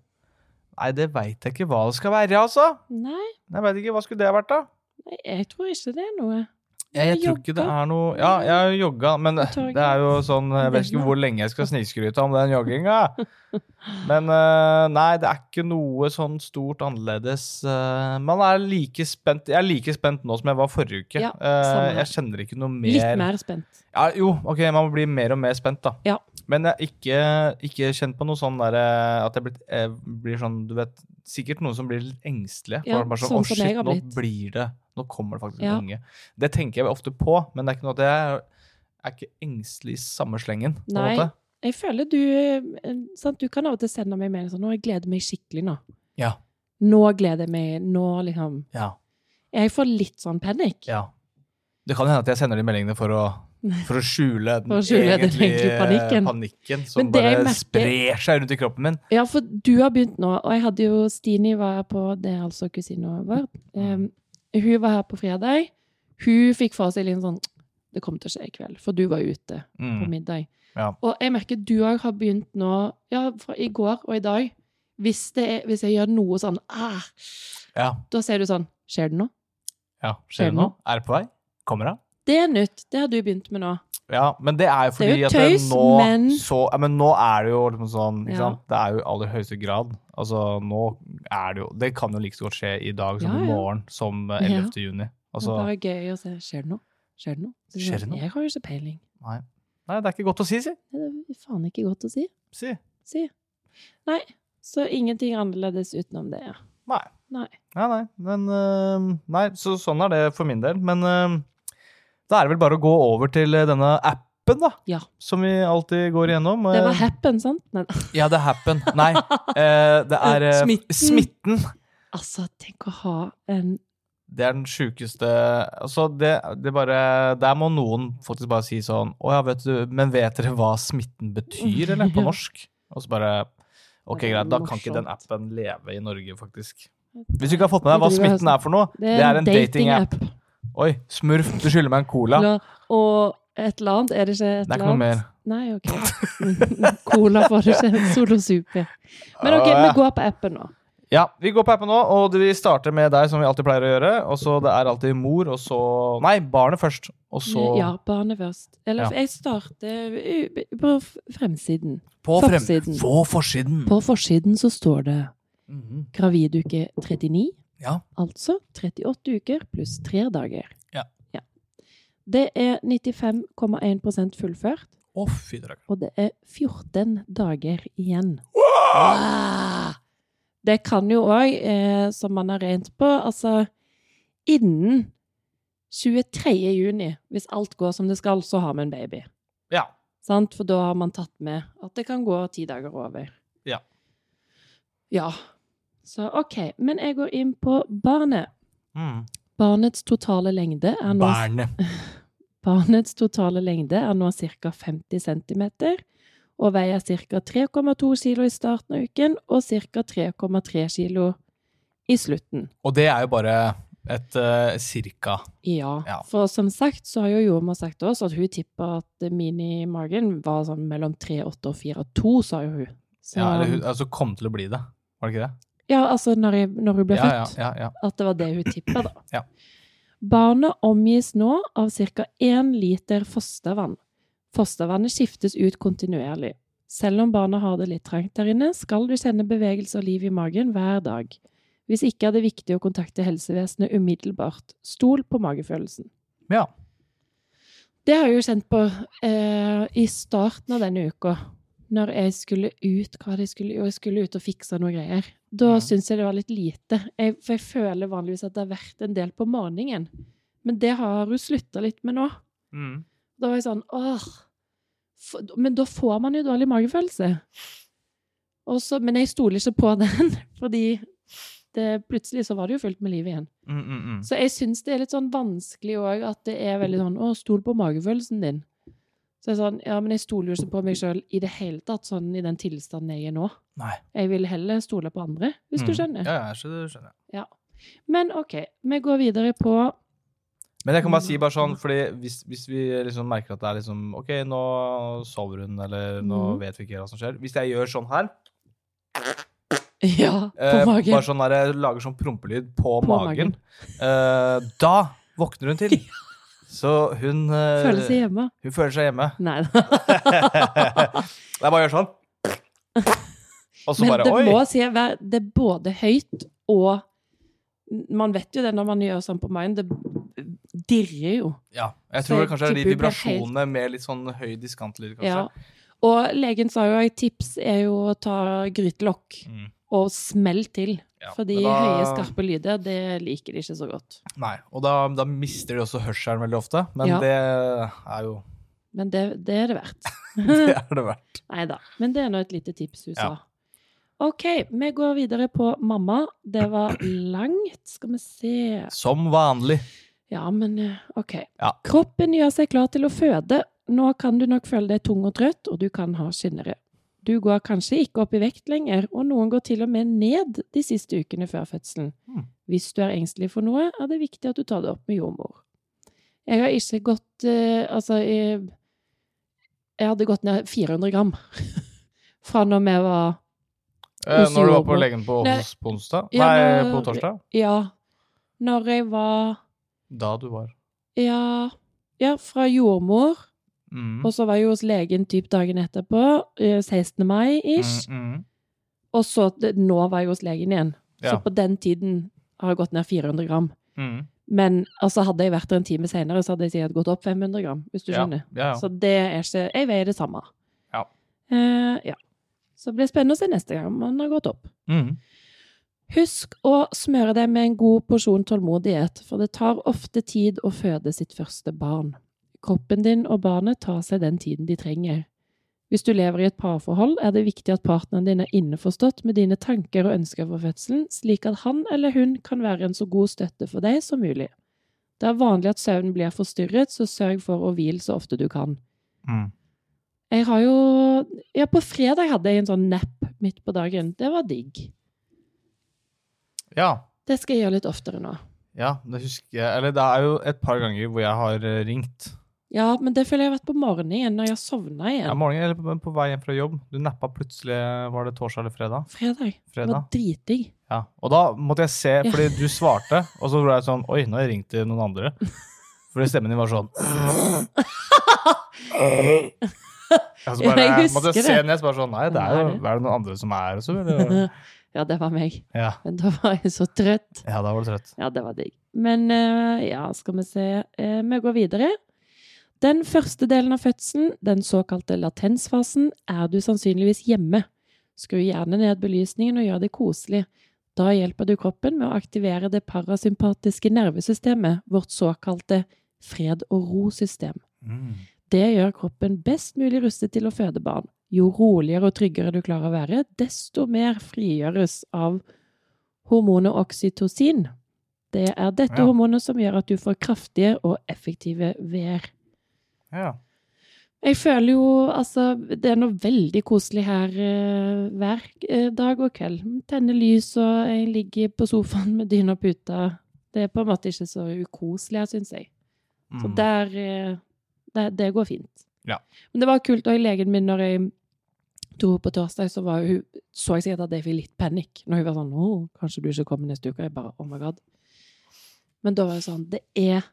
Speaker 1: Nei, det veit jeg ikke hva det skal være, altså.
Speaker 2: Nei,
Speaker 1: Jeg vet ikke, Hva skulle det vært, da?
Speaker 2: nei, jeg tror ikke det er noe.
Speaker 1: Jeg, jeg tror ikke det er noe Ja, jeg har jogga, men det
Speaker 2: tar ikke-
Speaker 1: er jo sånn Jeg vet ikke hvor lenge jeg skal snikskryte om den jogginga. Men eh, nei, det er ikke noe sånn stort annerledes. Eh, Man er like spent Jeg er like spent nå som jeg var forrige uke.
Speaker 2: Ja,
Speaker 1: Eh,
Speaker 2: samme her.
Speaker 1: jeg kjenner ikke noe mer
Speaker 2: Litt mer spent.
Speaker 1: Ja, jo, ok, man må bli mer og mer spent, da.
Speaker 2: Ja.
Speaker 1: Men jeg er ikke, ikke kjent på noe sånn derre at jeg, blitt, jeg blir sånn Du vet, sikkert noen som blir litt engstelige.
Speaker 2: Ja,
Speaker 1: for bare sånn,
Speaker 2: sånn
Speaker 1: «Å,
Speaker 2: som
Speaker 1: shit,
Speaker 2: jeg har blitt».
Speaker 1: Nå blir det Nå kommer det faktisk
Speaker 2: Ja.
Speaker 1: en unge. Det tenker jeg ofte på, men det er ikke noe at jeg er ikke engstelig i samme slengen. på en
Speaker 2: Nei.
Speaker 1: måte.
Speaker 2: Jeg føler du eh, sant, Du kan av og til sende meg melding sånn 'Nå, jeg gleder meg skikkelig nå'.
Speaker 1: Ja.
Speaker 2: Nå gleder jeg meg. Nå, liksom.
Speaker 1: Ja.
Speaker 2: Jeg får litt sånn panikk.
Speaker 1: ja. Det kan hende at jeg sender de meldingene for å, for å skjule den
Speaker 2: For å skjule den
Speaker 1: egentlige
Speaker 2: egentlige panikken.
Speaker 1: panikken som
Speaker 2: Men det
Speaker 1: bare
Speaker 2: jeg merker-
Speaker 1: sprer seg rundt i kroppen min.
Speaker 2: Ja, for du har begynt nå, og jeg hadde jo Stini var her på Det er altså kusina vår.
Speaker 1: Mm.
Speaker 2: Em, eh, hun var her på fredag. Hun fikk for seg litt sånn Det kommer til å skje i kveld, for du var ute på
Speaker 1: Mm.
Speaker 2: middag.
Speaker 1: Ja.
Speaker 2: Og jeg merker du òg har begynt nå, ja, fra i går og i dag Hvis, det er, hvis jeg gjør noe sånn ah,
Speaker 1: Ja.
Speaker 2: Da ser du sånn Skjer det noe?
Speaker 1: ja.
Speaker 2: Skjer
Speaker 1: Skjer
Speaker 2: det
Speaker 1: det noe? Er det på vei? Kommer det?
Speaker 2: Det er nytt. Det har du begynt med nå.
Speaker 1: Ja, men det er jo
Speaker 2: Det er
Speaker 1: fordi
Speaker 2: jo
Speaker 1: at det
Speaker 2: tøys,
Speaker 1: nå,
Speaker 2: men-
Speaker 1: så, ja, men nå er det jo liksom sånn ikke
Speaker 2: Ja.
Speaker 1: sant? Det er jo i aller høyeste grad. Altså, nå er det jo Det kan jo like så godt skje i dag som
Speaker 2: Ja,
Speaker 1: i
Speaker 2: ja.
Speaker 1: morgen som eh, 11. juni.
Speaker 2: det
Speaker 1: Altså,
Speaker 2: er bare gøy å se. Skjer det noe? Skjer det noe? Så sier
Speaker 1: Skjer
Speaker 2: jeg,
Speaker 1: det noe?
Speaker 2: Jeg har jo ikke peiling.
Speaker 1: nei, det er ikke godt å si, si.
Speaker 2: Det er faen ikke godt å si.
Speaker 1: si.
Speaker 2: si. Nei, så ingenting annerledes utenom det, ja.
Speaker 1: Nei.
Speaker 2: Nei.
Speaker 1: Nei, nei. Men eh, Nei, så sånn er det for min del. Men eh, da er det vel bare å gå over til eh, denne appen, da.
Speaker 2: Ja.
Speaker 1: Som vi alltid går igjennom.
Speaker 2: Det
Speaker 1: Eh,
Speaker 2: var happen, sant? Nei,
Speaker 1: Ja, det er happen. Nei, eh, det er eh,
Speaker 2: Smitten.
Speaker 1: smitten.
Speaker 2: altså, tenk å ha en
Speaker 1: Det er den sjukeste Altså, det, det bare Der må noen faktisk bare si sånn Å ja, vet du, men vet dere hva smitten betyr, eller? På
Speaker 2: Ja.
Speaker 1: norsk? Og så bare Ok,
Speaker 2: Det er
Speaker 1: greit, da kan ikke den
Speaker 2: morsomt.
Speaker 1: appen leve i Norge, faktisk. Hvis du ikke har fått med deg hva smitten er for noe
Speaker 2: Det er en dating-app.
Speaker 1: Oi, smurf, du skylder meg en cola.
Speaker 2: La- Og et eller annet, er det ikke et
Speaker 1: Det er
Speaker 2: eller
Speaker 1: ikke noe
Speaker 2: annet?
Speaker 1: mer.
Speaker 2: Nei, ok. Cola får du ikke. Solo Super. Men ok,
Speaker 1: Åh,
Speaker 2: vi
Speaker 1: ja.
Speaker 2: går på appen nå.
Speaker 1: Ja, vi går på appen nå, og vi starter med deg, som vi alltid pleier å gjøre. Og så det er alltid mor, og så Nei, barnet først. Og så
Speaker 2: Ja, barnet først. Eller
Speaker 1: Ja.
Speaker 2: jeg starter u- på f- fremsiden.
Speaker 1: på frem...
Speaker 2: forsiden.
Speaker 1: På forsiden.
Speaker 2: På forsiden så står det
Speaker 1: Mhm.
Speaker 2: graviduke 39.
Speaker 1: Ja.
Speaker 2: Altså 38 uker pluss 3 dager.
Speaker 1: Ja.
Speaker 2: Det er 95,1 fullført,
Speaker 1: Å, fy drakk.
Speaker 2: og det er 14 dager igjen. Ah! Det kan jo òg, eh, som man har regnet på, altså innen 23. juni, hvis alt går som det skal, så har vi en baby.
Speaker 1: Ja.
Speaker 2: Sant? For da har man tatt med at det kan gå ti dager over.
Speaker 1: Ja.
Speaker 2: Ja. Så OK. Men jeg går inn på barnet.
Speaker 1: Mm.
Speaker 2: Barnets totale lengde er nå,
Speaker 1: Barnet.
Speaker 2: barnets totale lengde er nå ca. 50 cm og veier ca. 3,2 kg i starten av uken og ca. 3,3 kg i slutten.
Speaker 1: Og det er jo bare et eh, cirka.
Speaker 2: Ja,
Speaker 1: Ja.
Speaker 2: for som sagt så har jo jordmor sagt til oss at hun tipper at minimagen var sånn mellom 3,8 og 4,2, sa jo hun. Så,
Speaker 1: Ja, eller hun altså, kom til å bli det. Var det ikke det?
Speaker 2: ja, altså når, jeg, når hun ble
Speaker 1: Ja, ja,
Speaker 2: født.
Speaker 1: ja, ja.
Speaker 2: At det var det hun tippa, da.
Speaker 1: Ja.
Speaker 2: Barnet omgis nå av ca. 1 liter fostervann. Fostervannet skiftes ut kontinuerlig. Selv om barnet har det litt trangt der inne, skal du kjenne bevegelse og liv i magen hver dag. Hvis ikke er det viktig å kontakte helsevesenet umiddelbart. Stol på magefølelsen.
Speaker 1: Ja.
Speaker 2: Det har jeg jo kjent på eh, i starten av denne uka. Når jeg skulle ut hva var det jeg skulle, jo, jeg skulle ut og fikse noe greier. Da
Speaker 1: Mhm.
Speaker 2: syns jeg det var litt lite. Jeg, for jeg føler vanligvis at det har vært en del på morgenen. Men det har hun slutta litt med nå.
Speaker 1: Mm.
Speaker 2: Da var jeg sånn åh. For, men da får man jo dårlig magefølelse. Og så- men jeg stoler ikke på den, fordi det, plutselig så var det jo fullt med liv igjen.
Speaker 1: Mm, mm, mm.
Speaker 2: Så jeg syns det er litt sånn vanskelig òg at det er veldig sånn Å, stol på magefølelsen din. Så jeg er sånn, ja, men jeg stoler jo ikke på meg sjøl i det hele tatt, sånn i den tilstanden jeg er nå.
Speaker 1: Nei.
Speaker 2: Jeg vil heller stole på andre, hvis du
Speaker 1: Mm.
Speaker 2: skjønner.
Speaker 1: Ja, ja, skjønner, skjønner. jeg.
Speaker 2: Men OK, vi går videre på
Speaker 1: Men jeg kan bare si bare sånn, fordi hvis, hvis vi liksom merker at det er liksom OK, nå sover hun, eller nå
Speaker 2: Mhm.
Speaker 1: vet vi ikke hva som skjer. Hvis jeg gjør sånn her,
Speaker 2: Ja, på
Speaker 1: eh,
Speaker 2: magen.
Speaker 1: bare sånn der, jeg lager sånn prompelyd på,
Speaker 2: På
Speaker 1: magen, eh, da våkner hun til. Så hun, eh,
Speaker 2: Føle seg hjemme.
Speaker 1: hun føler seg hjemme.
Speaker 2: Nei da.
Speaker 1: jeg bare gjør sånn. Og så
Speaker 2: Men
Speaker 1: bare
Speaker 2: det
Speaker 1: Oi!
Speaker 2: må si, være- det er både høyt og Man vet jo det når man gjør sånn på magen. Det dirrer jo.
Speaker 1: Ja. Jeg
Speaker 2: Så
Speaker 1: tror det
Speaker 2: jeg
Speaker 1: kanskje er de
Speaker 2: tipper det blir helt-
Speaker 1: vibrasjonene med litt sånn høy diskantlyd,
Speaker 2: Ja.
Speaker 1: kanskje.
Speaker 2: Og legen sa jo at tips er jo å ta grytelokk
Speaker 1: Mm.
Speaker 2: og smell til.
Speaker 1: Ja,
Speaker 2: Fordi
Speaker 1: men da-
Speaker 2: høye, skarpe lyder, det liker de ikke så godt.
Speaker 1: Nei, og da, da mister de også hørselen veldig ofte, men
Speaker 2: Ja.
Speaker 1: det er jo
Speaker 2: Men det, det er det verdt.
Speaker 1: Det er det verdt.
Speaker 2: Nei da. Men det er nå et lite tips hun
Speaker 1: Ja.
Speaker 2: sa. OK, vi går videre på mamma. Det var langt. Skal vi se
Speaker 1: Som vanlig.
Speaker 2: Ja, men eh, OK.
Speaker 1: Ja.
Speaker 2: Kroppen gjør seg klar til å føde. Nå kan du nok føle deg tung og trøtt, og du kan ha skinnere. Du går kanskje ikke opp i vekt lenger, og noen går til og med ned de siste ukene før fødselen.
Speaker 1: Hmm.
Speaker 2: Hvis du er engstelig for noe, er det viktig at du tar det opp med jordmor. Jeg har ikke gått eh, Altså, jeg, jeg hadde gått ned 400 gram fra når vi var
Speaker 1: Eh,
Speaker 2: Hos
Speaker 1: når du var på
Speaker 2: jordmor.
Speaker 1: legen på,
Speaker 2: Nei.
Speaker 1: hos- på onsdag
Speaker 2: Ja,
Speaker 1: Nei, på
Speaker 2: når-
Speaker 1: torsdag.
Speaker 2: Ja, når jeg var
Speaker 1: Da du var
Speaker 2: Ja, ja fra jordmor
Speaker 1: mm.
Speaker 2: Og så var jeg jo hos legen typ dagen etterpå, eh, 16.
Speaker 1: Mm,
Speaker 2: mai-ish.
Speaker 1: mm.
Speaker 2: Og så det- nå var jeg hos legen igjen.
Speaker 1: Ja.
Speaker 2: Så på den tiden har jeg gått ned 400 gram.
Speaker 1: Mm.
Speaker 2: Men altså, hadde jeg vært der en time senere, så hadde jeg sikkert gått opp 500 gram, hvis du
Speaker 1: Ja,
Speaker 2: skjønner.
Speaker 1: ja, ja.
Speaker 2: Så det er ikke Jeg veier det samme.
Speaker 1: Ja.
Speaker 2: Eh, ja. Så det blir spennende å se neste gang om man har gått opp.
Speaker 1: Mm.
Speaker 2: Husk å smøre deg med en god porsjon tålmodighet, for det tar ofte tid å føde sitt første barn. Kroppen din og barnet tar seg den tiden de trenger. Hvis du lever i et parforhold, er det viktig at partneren din er innforstått med dine tanker og ønsker for fødselen, slik at han eller hun kan være en så god støtte for deg som mulig. Det er vanlig at søvnen blir forstyrret, så sørg for å hvile så ofte du kan.
Speaker 1: Mm.
Speaker 2: Jeg har jo Ja, på fredag hadde jeg en sånn nap midt på dagen. Det var digg.
Speaker 1: ja.
Speaker 2: Det skal jeg gjøre litt oftere nå.
Speaker 1: Ja, det husker jeg. Eller det er jo et par ganger hvor jeg har eh, ringt.
Speaker 2: Ja, men det føler jeg har vært på morgenen igjen, når jeg har sovna
Speaker 1: Ja,
Speaker 2: igjen.
Speaker 1: morgenen, eller på, på vei hjem fra jobb. Du nappa plutselig Var det torsdag eller fredag?
Speaker 2: Fredag. Det
Speaker 1: Fredag.
Speaker 2: var dritdigg.
Speaker 1: Ja, og da måtte jeg se, fordi du svarte, og så var jeg sånn, oi, nå har jeg ringt til noen andre. Fordi stemmen din var sånn. Ja, så
Speaker 2: Ja,
Speaker 1: bare,
Speaker 2: jeg
Speaker 1: måtte
Speaker 2: husker
Speaker 1: jeg se
Speaker 2: det.
Speaker 1: ned, så bare sånn, nei, det er jo er det noen andre som er også, eller?
Speaker 2: Ja, det var meg.
Speaker 1: Ja,
Speaker 2: Men da var jeg så trøtt.
Speaker 1: ja da var du trøtt.
Speaker 2: Ja, det var digg. Men eh, ja, skal vi se. Eh, vi går videre. Den første delen av fødselen, den såkalte latensfasen, er du sannsynligvis hjemme. Skru gjerne ned belysningen og gjør det koselig. Da hjelper du kroppen med å aktivere det parasympatiske nervesystemet, vårt såkalte fred og ro-system.
Speaker 1: Mm.
Speaker 2: Det gjør kroppen best mulig rustet til å føde barn. Jo roligere og tryggere du klarer å være, desto mer frigjøres av hormonet oksytocin. Det er dette
Speaker 1: Ja.
Speaker 2: hormonet som gjør at du får kraftige og effektive veer.
Speaker 1: Ja.
Speaker 2: Jeg føler jo altså Det er noe veldig koselig her eh, hver eh, dag og kveld. Tenner lys, og jeg ligger på sofaen med dyna og puta. Det er på en måte ikke så ukoselig her, syns jeg. Så
Speaker 1: Mm.
Speaker 2: der, eh, der Det går fint.
Speaker 1: Ja.
Speaker 2: Men det var kult òg. Legen min, når jeg dro på torsdag, så var hun, så jeg sikkert at jeg fikk litt panikk. Når hun var sånn 'Å, kanskje du ikke kommer neste uke?' Jeg bare 'Oh my God'. Men da var jeg sånn Det er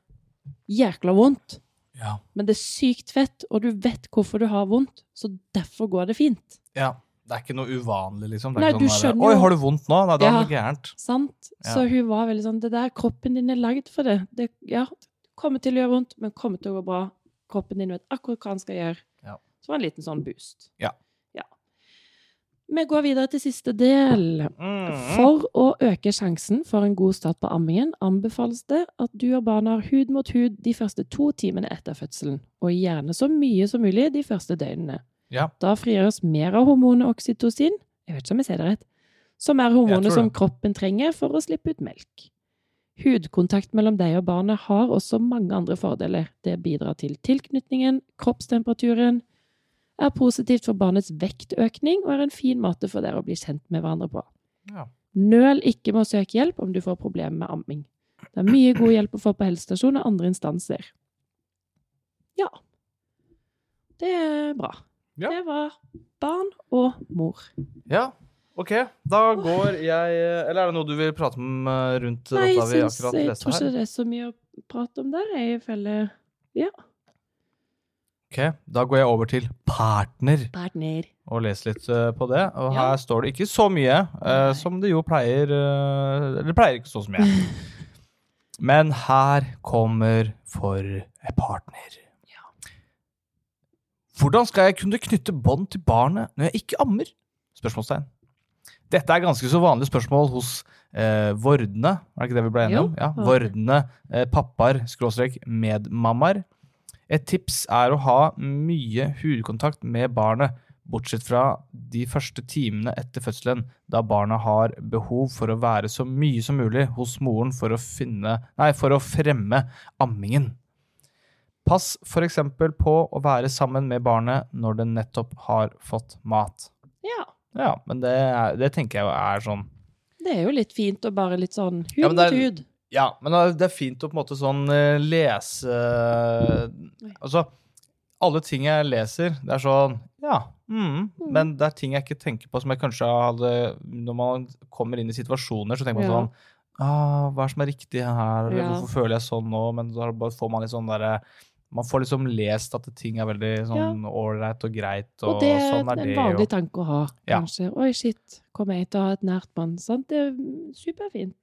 Speaker 2: jækla vondt,
Speaker 1: Ja.
Speaker 2: men det er sykt fett, og du vet hvorfor du har vondt, så derfor går det fint.
Speaker 1: ja. Det er ikke noe uvanlig, liksom. Det
Speaker 2: Nei,
Speaker 1: er ikke
Speaker 2: du
Speaker 1: sånn der,
Speaker 2: skjønner jo-
Speaker 1: Oi, har du vondt nå? Nei, da er det noe gærent.
Speaker 2: Sant? Så hun var veldig sånn Det der, kroppen din er lagd for det. det ja, det kommer til å gjøre vondt, men kommer til å gå bra. Kroppen din vet akkurat hva den skal gjøre.
Speaker 1: Ja.
Speaker 2: Så var det en liten sånn boost.
Speaker 1: Ja.
Speaker 2: Ja. Vi går videre til siste del.
Speaker 1: Mm.
Speaker 2: For å øke sjansen for en god start på ammingen, anbefales det at du og barna har hud mot hud de første to timene etter fødselen, og gjerne så mye som mulig de første døgnene.
Speaker 1: Ja.
Speaker 2: Da frigjøres mer av hormonet oksytocin, jeg vet ikke om jeg sier det rett, som er
Speaker 1: Jeg
Speaker 2: hormonet
Speaker 1: tror
Speaker 2: som
Speaker 1: det.
Speaker 2: kroppen trenger for å slippe ut melk. Hudkontakt mellom deg og barnet har også mange andre fordeler. Det bidrar til tilknytningen, kroppstemperaturen, er positivt for barnets vektøkning og er en fin måte for dere å bli kjent med hverandre på.
Speaker 1: Ja.
Speaker 2: Nøl ikke med å søke hjelp om du får problemer med amming. Det er mye god hjelp å få på helsestasjon og andre instanser. Ja. Det er bra.
Speaker 1: Ja.
Speaker 2: Det var barn og mor.
Speaker 1: Ja, ok. Da går jeg Eller er det noe du vil prate om eh, rundt
Speaker 2: Nei,
Speaker 1: dette
Speaker 2: jeg, eh,
Speaker 1: vi
Speaker 2: syns,
Speaker 1: akkurat
Speaker 2: jeg
Speaker 1: leste
Speaker 2: tror ikke
Speaker 1: her?
Speaker 2: det er så mye å prate om der. Jeg følger
Speaker 1: Ok, Da går jeg over til partner
Speaker 2: partner.
Speaker 1: og leser litt eh, på det. Og
Speaker 2: Ja.
Speaker 1: her står det ikke så mye, eh,
Speaker 2: Nei.
Speaker 1: som det jo pleier eh, Eller det pleier ikke så mye. Men her kommer for partner. Hvordan skal jeg kunne knytte bånd til barnet når jeg ikke ammer? Spørsmålstegn. Dette er ganske så vanlige spørsmål hos eh, vordende, var det ikke det vi ble enige om?
Speaker 2: Jo,
Speaker 1: Ja,
Speaker 2: vordende.
Speaker 1: vordende eh, pappaer, skråstrek medmammaer. Et tips er å ha mye hudkontakt med barnet, bortsett fra de første timene etter fødselen, da barnet har behov for å være så mye som mulig hos moren for å, finne, nei, for å fremme ammingen. Pass f.eks. på å være sammen med barnet når det nettopp har fått mat.
Speaker 2: Ja.
Speaker 1: Ja, men det, er, det tenker jeg jo er sånn
Speaker 2: Det er jo litt fint å bare litt sånn hud
Speaker 1: Ja, men det er-
Speaker 2: mot hud.
Speaker 1: Ja, men det er- det er fint å på en måte sånn eh, lese Altså, alle ting jeg leser, det er sånn Ja, mm,
Speaker 2: Mm.
Speaker 1: men det er ting jeg ikke tenker på som jeg kanskje hadde Når man kommer inn i situasjoner, så tenker man
Speaker 2: Ja.
Speaker 1: sånn ah, Hva er det som er riktig her?
Speaker 2: Ja.
Speaker 1: Hvorfor føler jeg sånn nå? Men da bare får man litt sånn derre man får liksom lest at ting er veldig sånn ålreit og greit, og,
Speaker 2: Og det er
Speaker 1: sånn er
Speaker 2: en
Speaker 1: det. og-
Speaker 2: vanlig tanke å ha,
Speaker 1: Ja.
Speaker 2: kanskje. Oi, shit, kommer jeg til å ha et nært bånd? Sant? Det er superfint.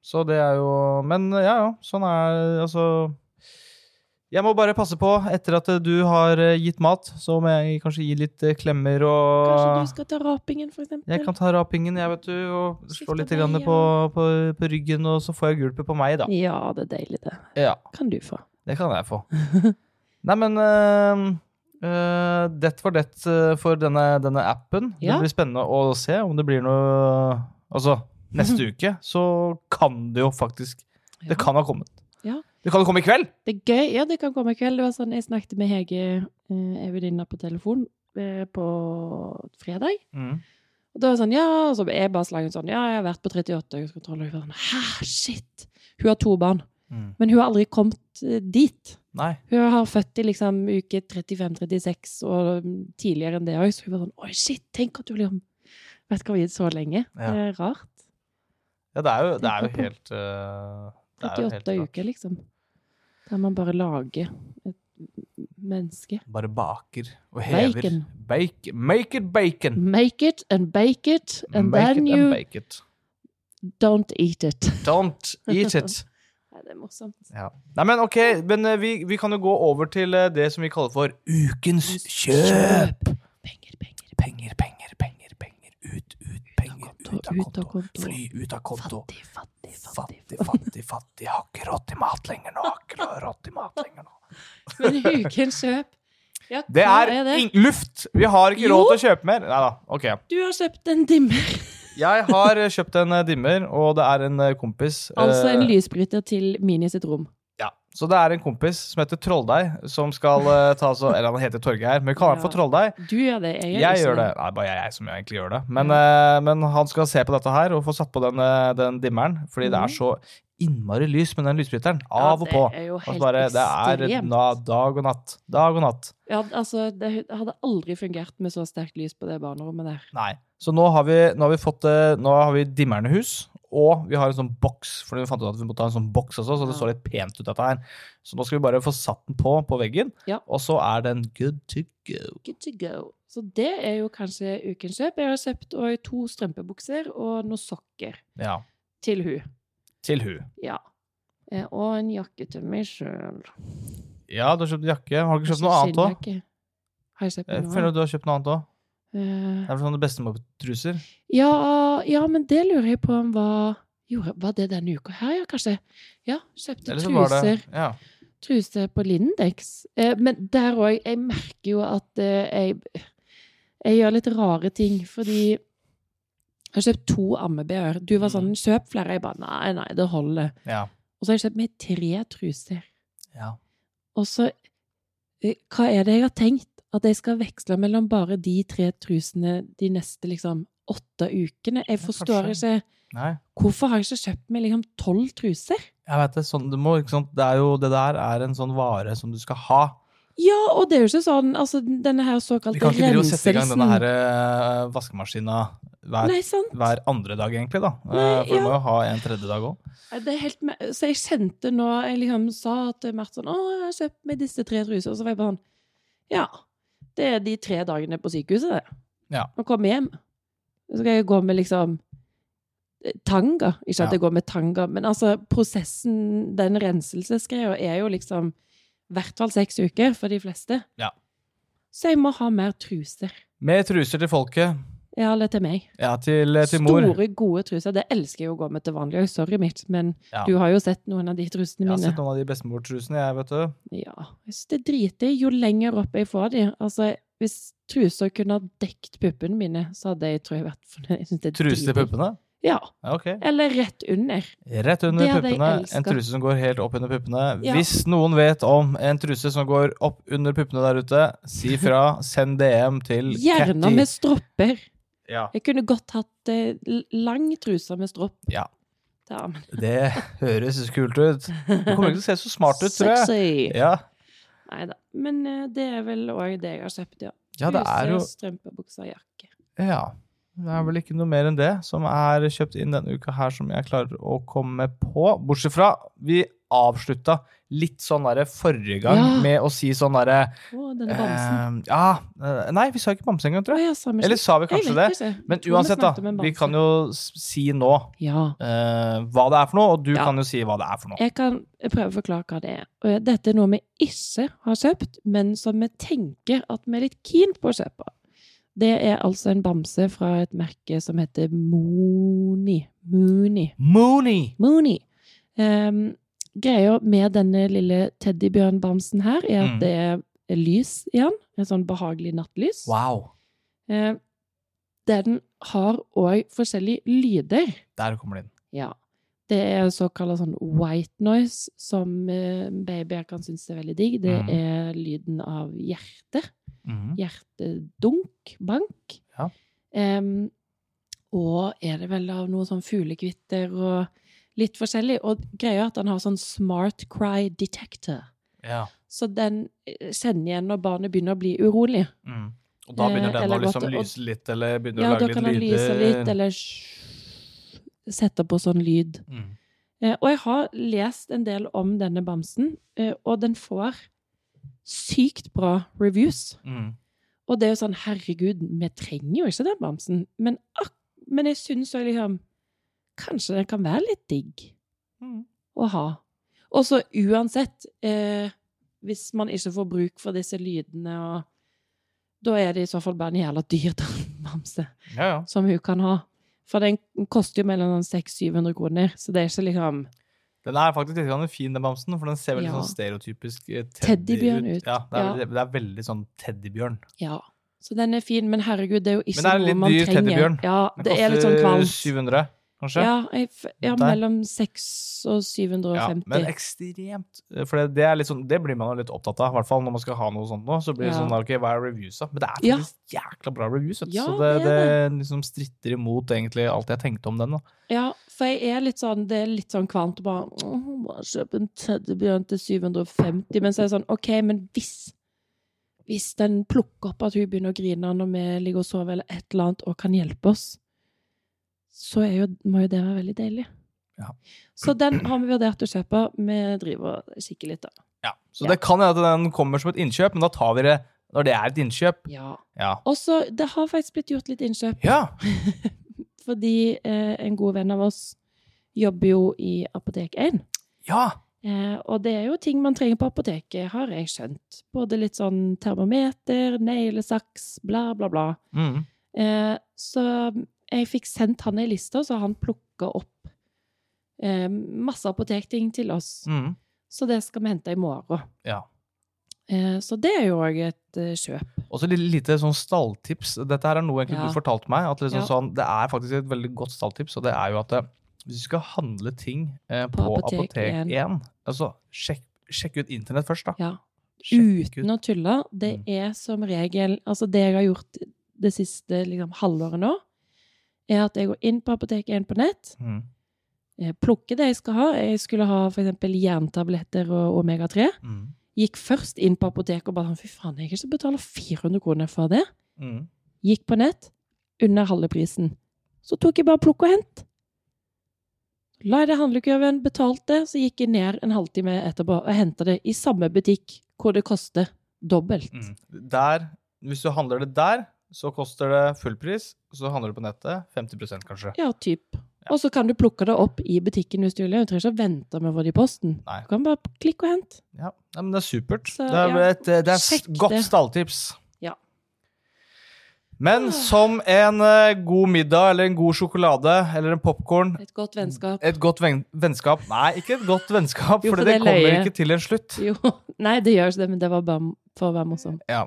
Speaker 1: Så det er jo Men ja, ja. Sånn er Altså Jeg må bare passe på, etter at eh, du har eh, gitt mat, så må jeg kanskje gi litt eh, klemmer og
Speaker 2: Kanskje du skal ta rapingen, for eksempel?
Speaker 1: Jeg kan ta rapingen, jeg, vet du, og slå
Speaker 2: Skifte
Speaker 1: litt
Speaker 2: meg,
Speaker 1: grann
Speaker 2: ja.
Speaker 1: på, på, på ryggen, og så får jeg gulpet på meg, da.
Speaker 2: Ja, det er deilig, det.
Speaker 1: Ja,
Speaker 2: Kan du få.
Speaker 1: det kan jeg få. Nei, men eh, eh, Det var det eh, for denne, denne appen.
Speaker 2: Ja.
Speaker 1: Det blir spennende å se om det blir noe Altså, neste uke så kan det jo faktisk
Speaker 2: Ja.
Speaker 1: Det kan ha kommet.
Speaker 2: Ja.
Speaker 1: Det kan jo komme i kveld!
Speaker 2: Det er gøy. Ja, det kan komme i kveld. Det var sånn, jeg snakket med Hege eh, ei venninne på telefon eh, på fredag.
Speaker 1: Mm.
Speaker 2: Og da var det sånn, ja, og så jeg bare slang ut sånn, ja, jeg har vært på 38-dagerskontroll. Og hun var sånn, hæ, shit! Hun har to barn,
Speaker 1: Mm.
Speaker 2: men hun har aldri kommet eh, dit.
Speaker 1: Nei.
Speaker 2: Hun har født i liksom uke 35-36 og mm, tidligere enn det òg, så hun var sånn, oi, shit, tenk at du liksom har vært gravid så lenge.
Speaker 1: Ja.
Speaker 2: Det er rart.
Speaker 1: Ja, det er jo, det er jo
Speaker 2: Tenker på.
Speaker 1: helt eh, det er jo helt
Speaker 2: 38
Speaker 1: rart.
Speaker 2: uker, liksom. Der man bare lager et menneske.
Speaker 1: Bare baker og hever.
Speaker 2: liksom. Bacon.
Speaker 1: Bake, make it bacon!
Speaker 2: Make it and bake it,
Speaker 1: Mm.
Speaker 2: and
Speaker 1: make
Speaker 2: then
Speaker 1: it
Speaker 2: you
Speaker 1: and bake it.
Speaker 2: don't eat it.
Speaker 1: Don't eat it!
Speaker 2: Nei, det er morsomt.
Speaker 1: Ja. Nei, men ok, men eh, vi, vi kan jo gå over til eh, det som vi kaller for ukens kjøp.
Speaker 2: Penger, penger,
Speaker 1: Penger, penger, penger, penger. Ut, ut, penger.
Speaker 2: konto, ut av konto.
Speaker 1: Fly ut av konto.
Speaker 2: Fattig, fattig, fattig.
Speaker 1: Fattig, fattig, fattig. Har ikke råd til mat lenger nå. Har ikke råd til mat lenger nå.
Speaker 2: Men ukens kjøp ja,
Speaker 1: Det
Speaker 2: hva
Speaker 1: er, ing- luft! Vi har ikke råd til å kjøpe mer. Nei da. Ok.
Speaker 2: Du har kjøpt en dimmer.
Speaker 1: Jeg har eh, kjøpt en eh, dimmer, og det er en eh, kompis eh,
Speaker 2: Altså en lysbryter til Mini sitt rom.
Speaker 1: Ja. Så det er en kompis som heter Trolldeig, som skal eh, ta så Eller han heter Torgeir, men vi kaller han for
Speaker 2: Ja.
Speaker 1: Trolldeig.
Speaker 2: Du gjør det, jeg gjør
Speaker 1: Jeg
Speaker 2: ikke
Speaker 1: gjør det. Nei, bare jeg som egentlig gjør det. Men,
Speaker 2: Ja.
Speaker 1: eh, men han skal se på dette her og få satt på den, eh, den dimmeren, fordi det
Speaker 2: Mhm.
Speaker 1: er så innmari lys med den lysbryteren. Av og på.
Speaker 2: Ja, det er jo
Speaker 1: Og så
Speaker 2: helt
Speaker 1: bare, det er
Speaker 2: ekstremt.
Speaker 1: na, dag og natt. Dag og natt.
Speaker 2: Ja, altså, det hadde aldri fungert med så sterkt lys på det barnerommet der.
Speaker 1: Nei. Så nå har vi, nå har vi fått eh, Nå har vi dimmerne hus, og vi har en sånn boks. For vi fant ut at vi måtte ha en sånn boks også, så det
Speaker 2: Ja.
Speaker 1: så litt pent ut, dette her. Så nå skal vi bare få satt den på på veggen,
Speaker 2: Ja.
Speaker 1: og så er den good to go.
Speaker 2: Good to go. Så det er jo kanskje ukens kjøp. Jeg har kjøpt og, to strømpebukser og noen sokker
Speaker 1: Ja.
Speaker 2: til hun.
Speaker 1: Til hun.
Speaker 2: Ja. Eh, Og en jakke til meg sjøl.
Speaker 1: Ja, du har kjøpt jakke. Har du ikke kjøpt noe annet Eh, òg?
Speaker 2: Har jeg kjøpt
Speaker 1: Jeg
Speaker 2: noe
Speaker 1: føler
Speaker 2: annet?
Speaker 1: at du har kjøpt noe annet òg.
Speaker 2: Eh,
Speaker 1: Det er vel sånne bestemortruser.
Speaker 2: Ja, ja, men det lurer jeg på om var gjorde, Var det denne uka her, ja, kanskje? Ja, kjøpte
Speaker 1: Eller så var det
Speaker 2: truser.
Speaker 1: ja.
Speaker 2: truse på Lindex. Eh, men der òg Jeg merker jo at eh, jeg, jeg gjør litt rare ting, fordi Jeg har kjøpt to ammebh-er. Du
Speaker 1: Mm.
Speaker 2: var sånn 'kjøp flere'. Jeg bare nei, nei, det holder.
Speaker 1: Ja.
Speaker 2: Og så har jeg kjøpt meg tre truser.
Speaker 1: ja.
Speaker 2: Og så eh, Hva er det jeg har tenkt? At jeg skal veksle mellom bare de tre trusene de neste liksom åtte ukene? Jeg
Speaker 1: Ja,
Speaker 2: forstår
Speaker 1: kanskje.
Speaker 2: ikke
Speaker 1: Nei.
Speaker 2: Hvorfor har jeg ikke kjøpt meg liksom tolv truser?
Speaker 1: Jeg vet det, sånn du må, ikke sant? Det, er jo, det der er en sånn vare som du skal ha.
Speaker 2: Ja, og det er jo ikke sånn Altså, denne her
Speaker 1: Vi
Speaker 2: såkalte
Speaker 1: kan ikke drive og sette i gang denne
Speaker 2: renselsen
Speaker 1: her eh, vaskemaskina hver,
Speaker 2: Nei, sant?
Speaker 1: hver andre dag, egentlig. da. Eh,
Speaker 2: Nei,
Speaker 1: For
Speaker 2: ja.
Speaker 1: du må jo ha en tredje dag òg.
Speaker 2: Nei, Det er helt, me- så jeg kjente nå Jeg liksom sa til Mert sånn 'Å, jeg har kjøpt meg disse tre trusene.' Og så var jeg bare sånn Ja. Det er de tre dagene på sykehuset, det.
Speaker 1: Ja.
Speaker 2: Nå kommer jeg hjem. Så skal jeg gå med liksom eh, tanga. Ikke
Speaker 1: Ja.
Speaker 2: at jeg går med tanga, men altså, prosessen, den renselsesgreia, er jo liksom i hvert fall seks uker for de fleste.
Speaker 1: Ja.
Speaker 2: Så jeg må ha mer truser.
Speaker 1: Med truser til folket.
Speaker 2: Ja, eller til meg.
Speaker 1: Ja, til, eh, til mor.
Speaker 2: Store, gode truser. Det elsker jeg å gå med til vanlig òg, sorry mitt, men
Speaker 1: Ja.
Speaker 2: du har jo sett noen av de trusene
Speaker 1: Jeg har
Speaker 2: mine.
Speaker 1: sett noen av de bestemortrusene, jeg, vet du.
Speaker 2: Ja, jeg synes det driter jeg jo lenger opp jeg får de. Altså, hvis truser kunne ha dekt puppene mine, så hadde jeg, tror jeg, vært fornøyd. Jeg synes det er
Speaker 1: Truse til
Speaker 2: driting.
Speaker 1: puppene?
Speaker 2: Ja,
Speaker 1: Ja, ok.
Speaker 2: eller rett under.
Speaker 1: Rett
Speaker 2: Det
Speaker 1: under
Speaker 2: hadde jeg
Speaker 1: puppene.
Speaker 2: elsket.
Speaker 1: En truse som går helt opp under puppene.
Speaker 2: Ja.
Speaker 1: Hvis noen vet om en truse som går opp under puppene der ute, si fra. Send DM til
Speaker 2: Gjerne
Speaker 1: Catty.
Speaker 2: med stropper.
Speaker 1: Ja,
Speaker 2: Jeg kunne godt hatt eh, l- lang truser med stropp.
Speaker 1: Ja.
Speaker 2: Ja, men
Speaker 1: det høres kult ut. Du kommer ikke til å se så smart ut, tror jeg.
Speaker 2: Sexy!
Speaker 1: Ja,
Speaker 2: Neida. Men eh, det er vel også det jeg har kjøpt, ja.
Speaker 1: ja det er jo
Speaker 2: Truser, strømpebukser, jakke.
Speaker 1: Ja. Det er vel ikke noe mer enn det som er kjøpt inn denne uka her som jeg klarer å komme på. Bortsett fra, vi avslutta litt sånn derre forrige gang
Speaker 2: Ja.
Speaker 1: med å si sånn derre
Speaker 2: Å, denne bamsen.
Speaker 1: eh, Ja. eh, Nei, vi sa ikke bamse engang, tror
Speaker 2: Å
Speaker 1: jeg.
Speaker 2: ja, samme
Speaker 1: Eh, Eller
Speaker 2: slik.
Speaker 1: sa vi
Speaker 2: Jeg
Speaker 1: kanskje det?
Speaker 2: vet ikke.
Speaker 1: Men
Speaker 2: Jeg tror vi
Speaker 1: uansett, da.
Speaker 2: snakket om en
Speaker 1: Vi
Speaker 2: bamse.
Speaker 1: kan jo s- si nå
Speaker 2: Ja.
Speaker 1: eh, hva det er for noe, og du
Speaker 2: Ja.
Speaker 1: kan jo si hva det er for noe.
Speaker 2: Jeg kan prøve å forklare hva det er. Og Dette er noe vi ikke har kjøpt, men som vi tenker at vi er litt keen på å kjøpe. Det er altså en bamse fra et merke som heter Mooney. Mooney.
Speaker 1: Mooney!
Speaker 2: Mooney. Ehm, greia med denne lille teddybjørnbamsen her er
Speaker 1: Mm.
Speaker 2: at det er lys i den. En sånn behagelig nattlys.
Speaker 1: Wow.
Speaker 2: Ehm, den har òg forskjellige lyder.
Speaker 1: Der kommer det inn.
Speaker 2: Ja. Det er såkalt sånn white noise, som eh, babyer kan synes er veldig digg. Det
Speaker 1: Mhm.
Speaker 2: er lyden av hjerte.
Speaker 1: Mhm.
Speaker 2: Hjertedunk, bank.
Speaker 1: Ja.
Speaker 2: Em, og er det vel av noe sånn fuglekvitter og litt forskjellig. Og greia er at han har sånn smart cry detector.
Speaker 1: Ja.
Speaker 2: Så den eh, kjenner igjen når barnet begynner å bli urolig.
Speaker 1: Mm. Og da begynner
Speaker 2: Eh,
Speaker 1: den å
Speaker 2: eller godt,
Speaker 1: liksom
Speaker 2: og-
Speaker 1: lyse litt, eller begynner
Speaker 2: Ja,
Speaker 1: å
Speaker 2: da
Speaker 1: lage
Speaker 2: kan han
Speaker 1: litt
Speaker 2: lyse
Speaker 1: lyder.
Speaker 2: litt, eller sh- sette på sånn lyd.
Speaker 1: Mm.
Speaker 2: Eh, Og jeg har lest en del om denne bamsen, eh, og den får sykt bra reviews.
Speaker 1: Mm.
Speaker 2: Og det er jo sånn, herregud, vi trenger jo ikke den bamsen. Men, ak men jeg syns jo liksom Kanskje den kan være litt digg
Speaker 1: Mm.
Speaker 2: å ha. Og så uansett, eh, hvis man ikke får bruk for disse lydene og Da er det i så fall bare en jævla dyr bamse
Speaker 1: Ja, ja.
Speaker 2: som hun kan ha. For den koster jo mellom sånn 600-700 kroner, så det er ikke liksom
Speaker 1: Den er faktisk litt grann fin, den bamsen, for den ser veldig
Speaker 2: Ja.
Speaker 1: sånn stereotypisk eh, teddy
Speaker 2: Teddybjørn ut.
Speaker 1: Ja, det er,
Speaker 2: Ja.
Speaker 1: veldig- det er veldig sånn teddybjørn.
Speaker 2: Ja. Så den er fin, men herregud, det er jo ikke
Speaker 1: Men det er en
Speaker 2: noe
Speaker 1: litt
Speaker 2: man
Speaker 1: dyr
Speaker 2: trenger.
Speaker 1: teddybjørn.
Speaker 2: Ja,
Speaker 1: Den
Speaker 2: det er litt sånn
Speaker 1: koster
Speaker 2: kvalmt.
Speaker 1: 700, kanskje?
Speaker 2: Ja, jeg, f- ja
Speaker 1: Der.
Speaker 2: mellom 600 og 750.
Speaker 1: men ekstremt. eh, For det, det, er litt sånn, det blir man jo litt opptatt av, i hvert fall når man skal ha noe sånt nå. Så blir det
Speaker 2: Ja.
Speaker 1: sånn, ok, hva er reviewsa? Men det er
Speaker 2: Ja.
Speaker 1: faktisk jækla bra reviews, vet du.
Speaker 2: Ja,
Speaker 1: så det,
Speaker 2: det
Speaker 1: det,
Speaker 2: er
Speaker 1: liksom stritter imot egentlig alt jeg tenkte om den. da.
Speaker 2: Ja, for jeg er litt sånn, det er litt sånn kvalmt å bare åh, bare kjøpe en teddybjørn til 750, men så er det sånn, OK, men hvis hvis den plukker opp at hun begynner å grine når vi ligger og sover eller et eller annet, og kan hjelpe oss, så er jo, må jo det være veldig deilig.
Speaker 1: Ja.
Speaker 2: Så den har vi vurdert å kjøpe. Vi driver og kikker litt, da.
Speaker 1: Ja. Så
Speaker 2: Ja.
Speaker 1: det kan hende at den kommer som et innkjøp, men da tar vi det når det er et innkjøp.
Speaker 2: Ja.
Speaker 1: Ja.
Speaker 2: Og så, det har faktisk blitt gjort litt innkjøp,
Speaker 1: ja.
Speaker 2: fordi eh, en god venn av oss jobber jo i Apotek 1.
Speaker 1: Ja.
Speaker 2: Eh, og det er jo ting man trenger på apoteket, har jeg skjønt. Både litt sånn termometer, neglesaks, bla, bla, bla.
Speaker 1: Mm.
Speaker 2: Eh, så jeg fikk sendt han ei liste, så han plukka opp eh, masse apotekting til oss.
Speaker 1: Mm.
Speaker 2: Så det skal vi hente i morgen.
Speaker 1: Ja.
Speaker 2: Eh, Så det er jo òg et eh, kjøp.
Speaker 1: Og så et lite sånn stalltips. Dette her er noe egentlig
Speaker 2: Ja.
Speaker 1: du fortalte meg. at liksom
Speaker 2: Ja.
Speaker 1: sånn, Det er faktisk et veldig godt stalltips. og det er jo at eh, Hvis du skal handle ting eh, på,
Speaker 2: Apotek
Speaker 1: Apotek 1, altså, sjekk, sjekk ut internett først, da.
Speaker 2: Ja.
Speaker 1: Sjekk ut- Mm.
Speaker 2: Uten å tulle. Det er som regel Altså, det jeg har gjort det siste liksom, halvåret nå, er at jeg går inn på Apotek 1 på nett,
Speaker 1: Mm.
Speaker 2: eh, plukker det jeg skal ha. Jeg skulle ha for eksempel jerntabletter og omega-3.
Speaker 1: Mm.
Speaker 2: Gikk først inn på apoteket og bare sånn Fy faen, jeg kan ikke betale 400 kroner for det.
Speaker 1: Mm.
Speaker 2: Gikk på nett. Under halve prisen. Så tok jeg bare plukk og hent. La jeg det i handlekurven, betalte, så gikk jeg ned en halvtime etterpå og henta det i samme butikk hvor det koster dobbelt.
Speaker 1: Mm. Der, hvis du handler det der, så koster det full pris. Så handler du på nettet 50 kanskje.
Speaker 2: Ja, typ. Og så kan du plukke det opp i butikken hvis du vil. Du trenger ikke å vente med å få det i posten.
Speaker 1: Nei.
Speaker 2: Du kan bare klikke og hente.
Speaker 1: Ja, Nei, men det er supert.
Speaker 2: Så,
Speaker 1: det er,
Speaker 2: ja.
Speaker 1: et, eh, det er
Speaker 2: Sjekk
Speaker 1: et godt
Speaker 2: det.
Speaker 1: stalltips.
Speaker 2: Ja.
Speaker 1: Men
Speaker 2: Ah.
Speaker 1: som en eh, god middag eller en god sjokolade eller en popkorn
Speaker 2: Et godt vennskap.
Speaker 1: Et godt ven vennskap Nei, ikke et godt vennskap,
Speaker 2: Jo,
Speaker 1: for
Speaker 2: for
Speaker 1: det,
Speaker 2: det
Speaker 1: kommer
Speaker 2: løye.
Speaker 1: ikke til en slutt.
Speaker 2: Mm. Jo. Nei, det gjør ikke det, men det var bare for å være morsom.
Speaker 1: Ja.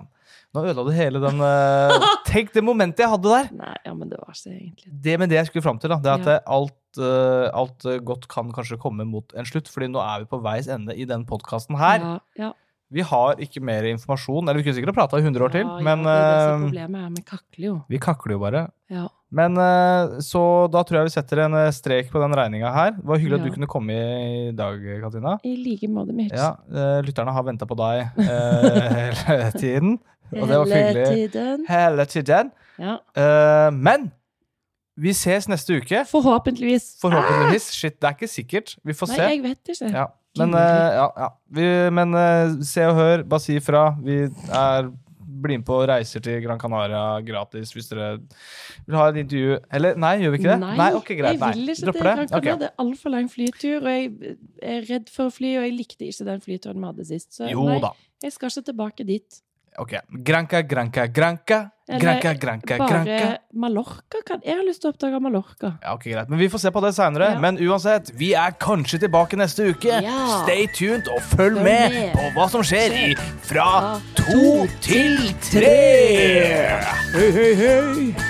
Speaker 1: Nå ødela du hele den eh, Tenk det momentet jeg hadde der!
Speaker 2: Nei, ja, men det var ikke egentlig
Speaker 1: Det med det jeg skulle fram til, da, det er at
Speaker 2: Ja.
Speaker 1: eh, alt, eh, alt eh, godt kan kanskje komme mot en slutt. fordi nå er vi på veis ende i den podkasten her.
Speaker 2: Ja, ja.
Speaker 1: Vi har ikke mer informasjon. Eller vi kunne sikkert ha prata i 100 år til,
Speaker 2: Ja,
Speaker 1: men
Speaker 2: ja, det er det som er
Speaker 1: eh,
Speaker 2: problemet er, vi kakler jo.
Speaker 1: vi kakler jo bare.
Speaker 2: Ja.
Speaker 1: Men eh, Så da tror jeg vi setter en eh, strek på den regninga her. Det var hyggelig at
Speaker 2: Ja.
Speaker 1: du kunne komme i dag, Katina.
Speaker 2: I like måte, Mitch.
Speaker 1: Ja, eh, lytterne har venta på deg eh, hele tiden. Og det var hyggelig.
Speaker 2: Hele tiden.
Speaker 1: Hele tiden.
Speaker 2: Ja.
Speaker 1: Eh, men vi ses neste uke.
Speaker 2: Forhåpentligvis.
Speaker 1: Forhåpentligvis. Shit, det er ikke sikkert. Vi får
Speaker 2: Nei,
Speaker 1: se.
Speaker 2: jeg vet ikke.
Speaker 1: Ja. Men,
Speaker 2: Gud.
Speaker 1: eh, ja, ja. Vi, men eh, se og hør, bare si ifra. Vi er blir med på reiser til Gran Canaria gratis hvis dere vil ha et intervju. Eller nei, gjør vi ikke det? ok, greit.
Speaker 2: jeg vil
Speaker 1: Nei.
Speaker 2: ikke
Speaker 1: Dropper
Speaker 2: det.
Speaker 1: det?
Speaker 2: Jeg kan
Speaker 1: Ok.
Speaker 2: ikke ha det er altfor lang flytur, og jeg er redd for å fly, og jeg likte ikke den flyturen vi hadde sist. Så
Speaker 1: Jo
Speaker 2: nei,
Speaker 1: da.
Speaker 2: jeg skal ikke tilbake dit.
Speaker 1: Ok. Granca, Granca, Granca.
Speaker 2: Eller
Speaker 1: Granca, Granca,
Speaker 2: Bare
Speaker 1: Granca.
Speaker 2: Mallorca kan Jeg har lyst til å oppdage Mallorca.
Speaker 1: Ja, ok, greit. Men vi får se på det seinere.
Speaker 2: Ja.
Speaker 1: Men uansett, vi er kanskje tilbake neste uke.
Speaker 2: Ja.
Speaker 1: Stay tuned og følg,
Speaker 2: Følg
Speaker 1: med,
Speaker 2: med.
Speaker 1: på hva som skjer i Fra
Speaker 2: Fra
Speaker 1: to
Speaker 2: to
Speaker 1: til tre. Hei, hei, hei.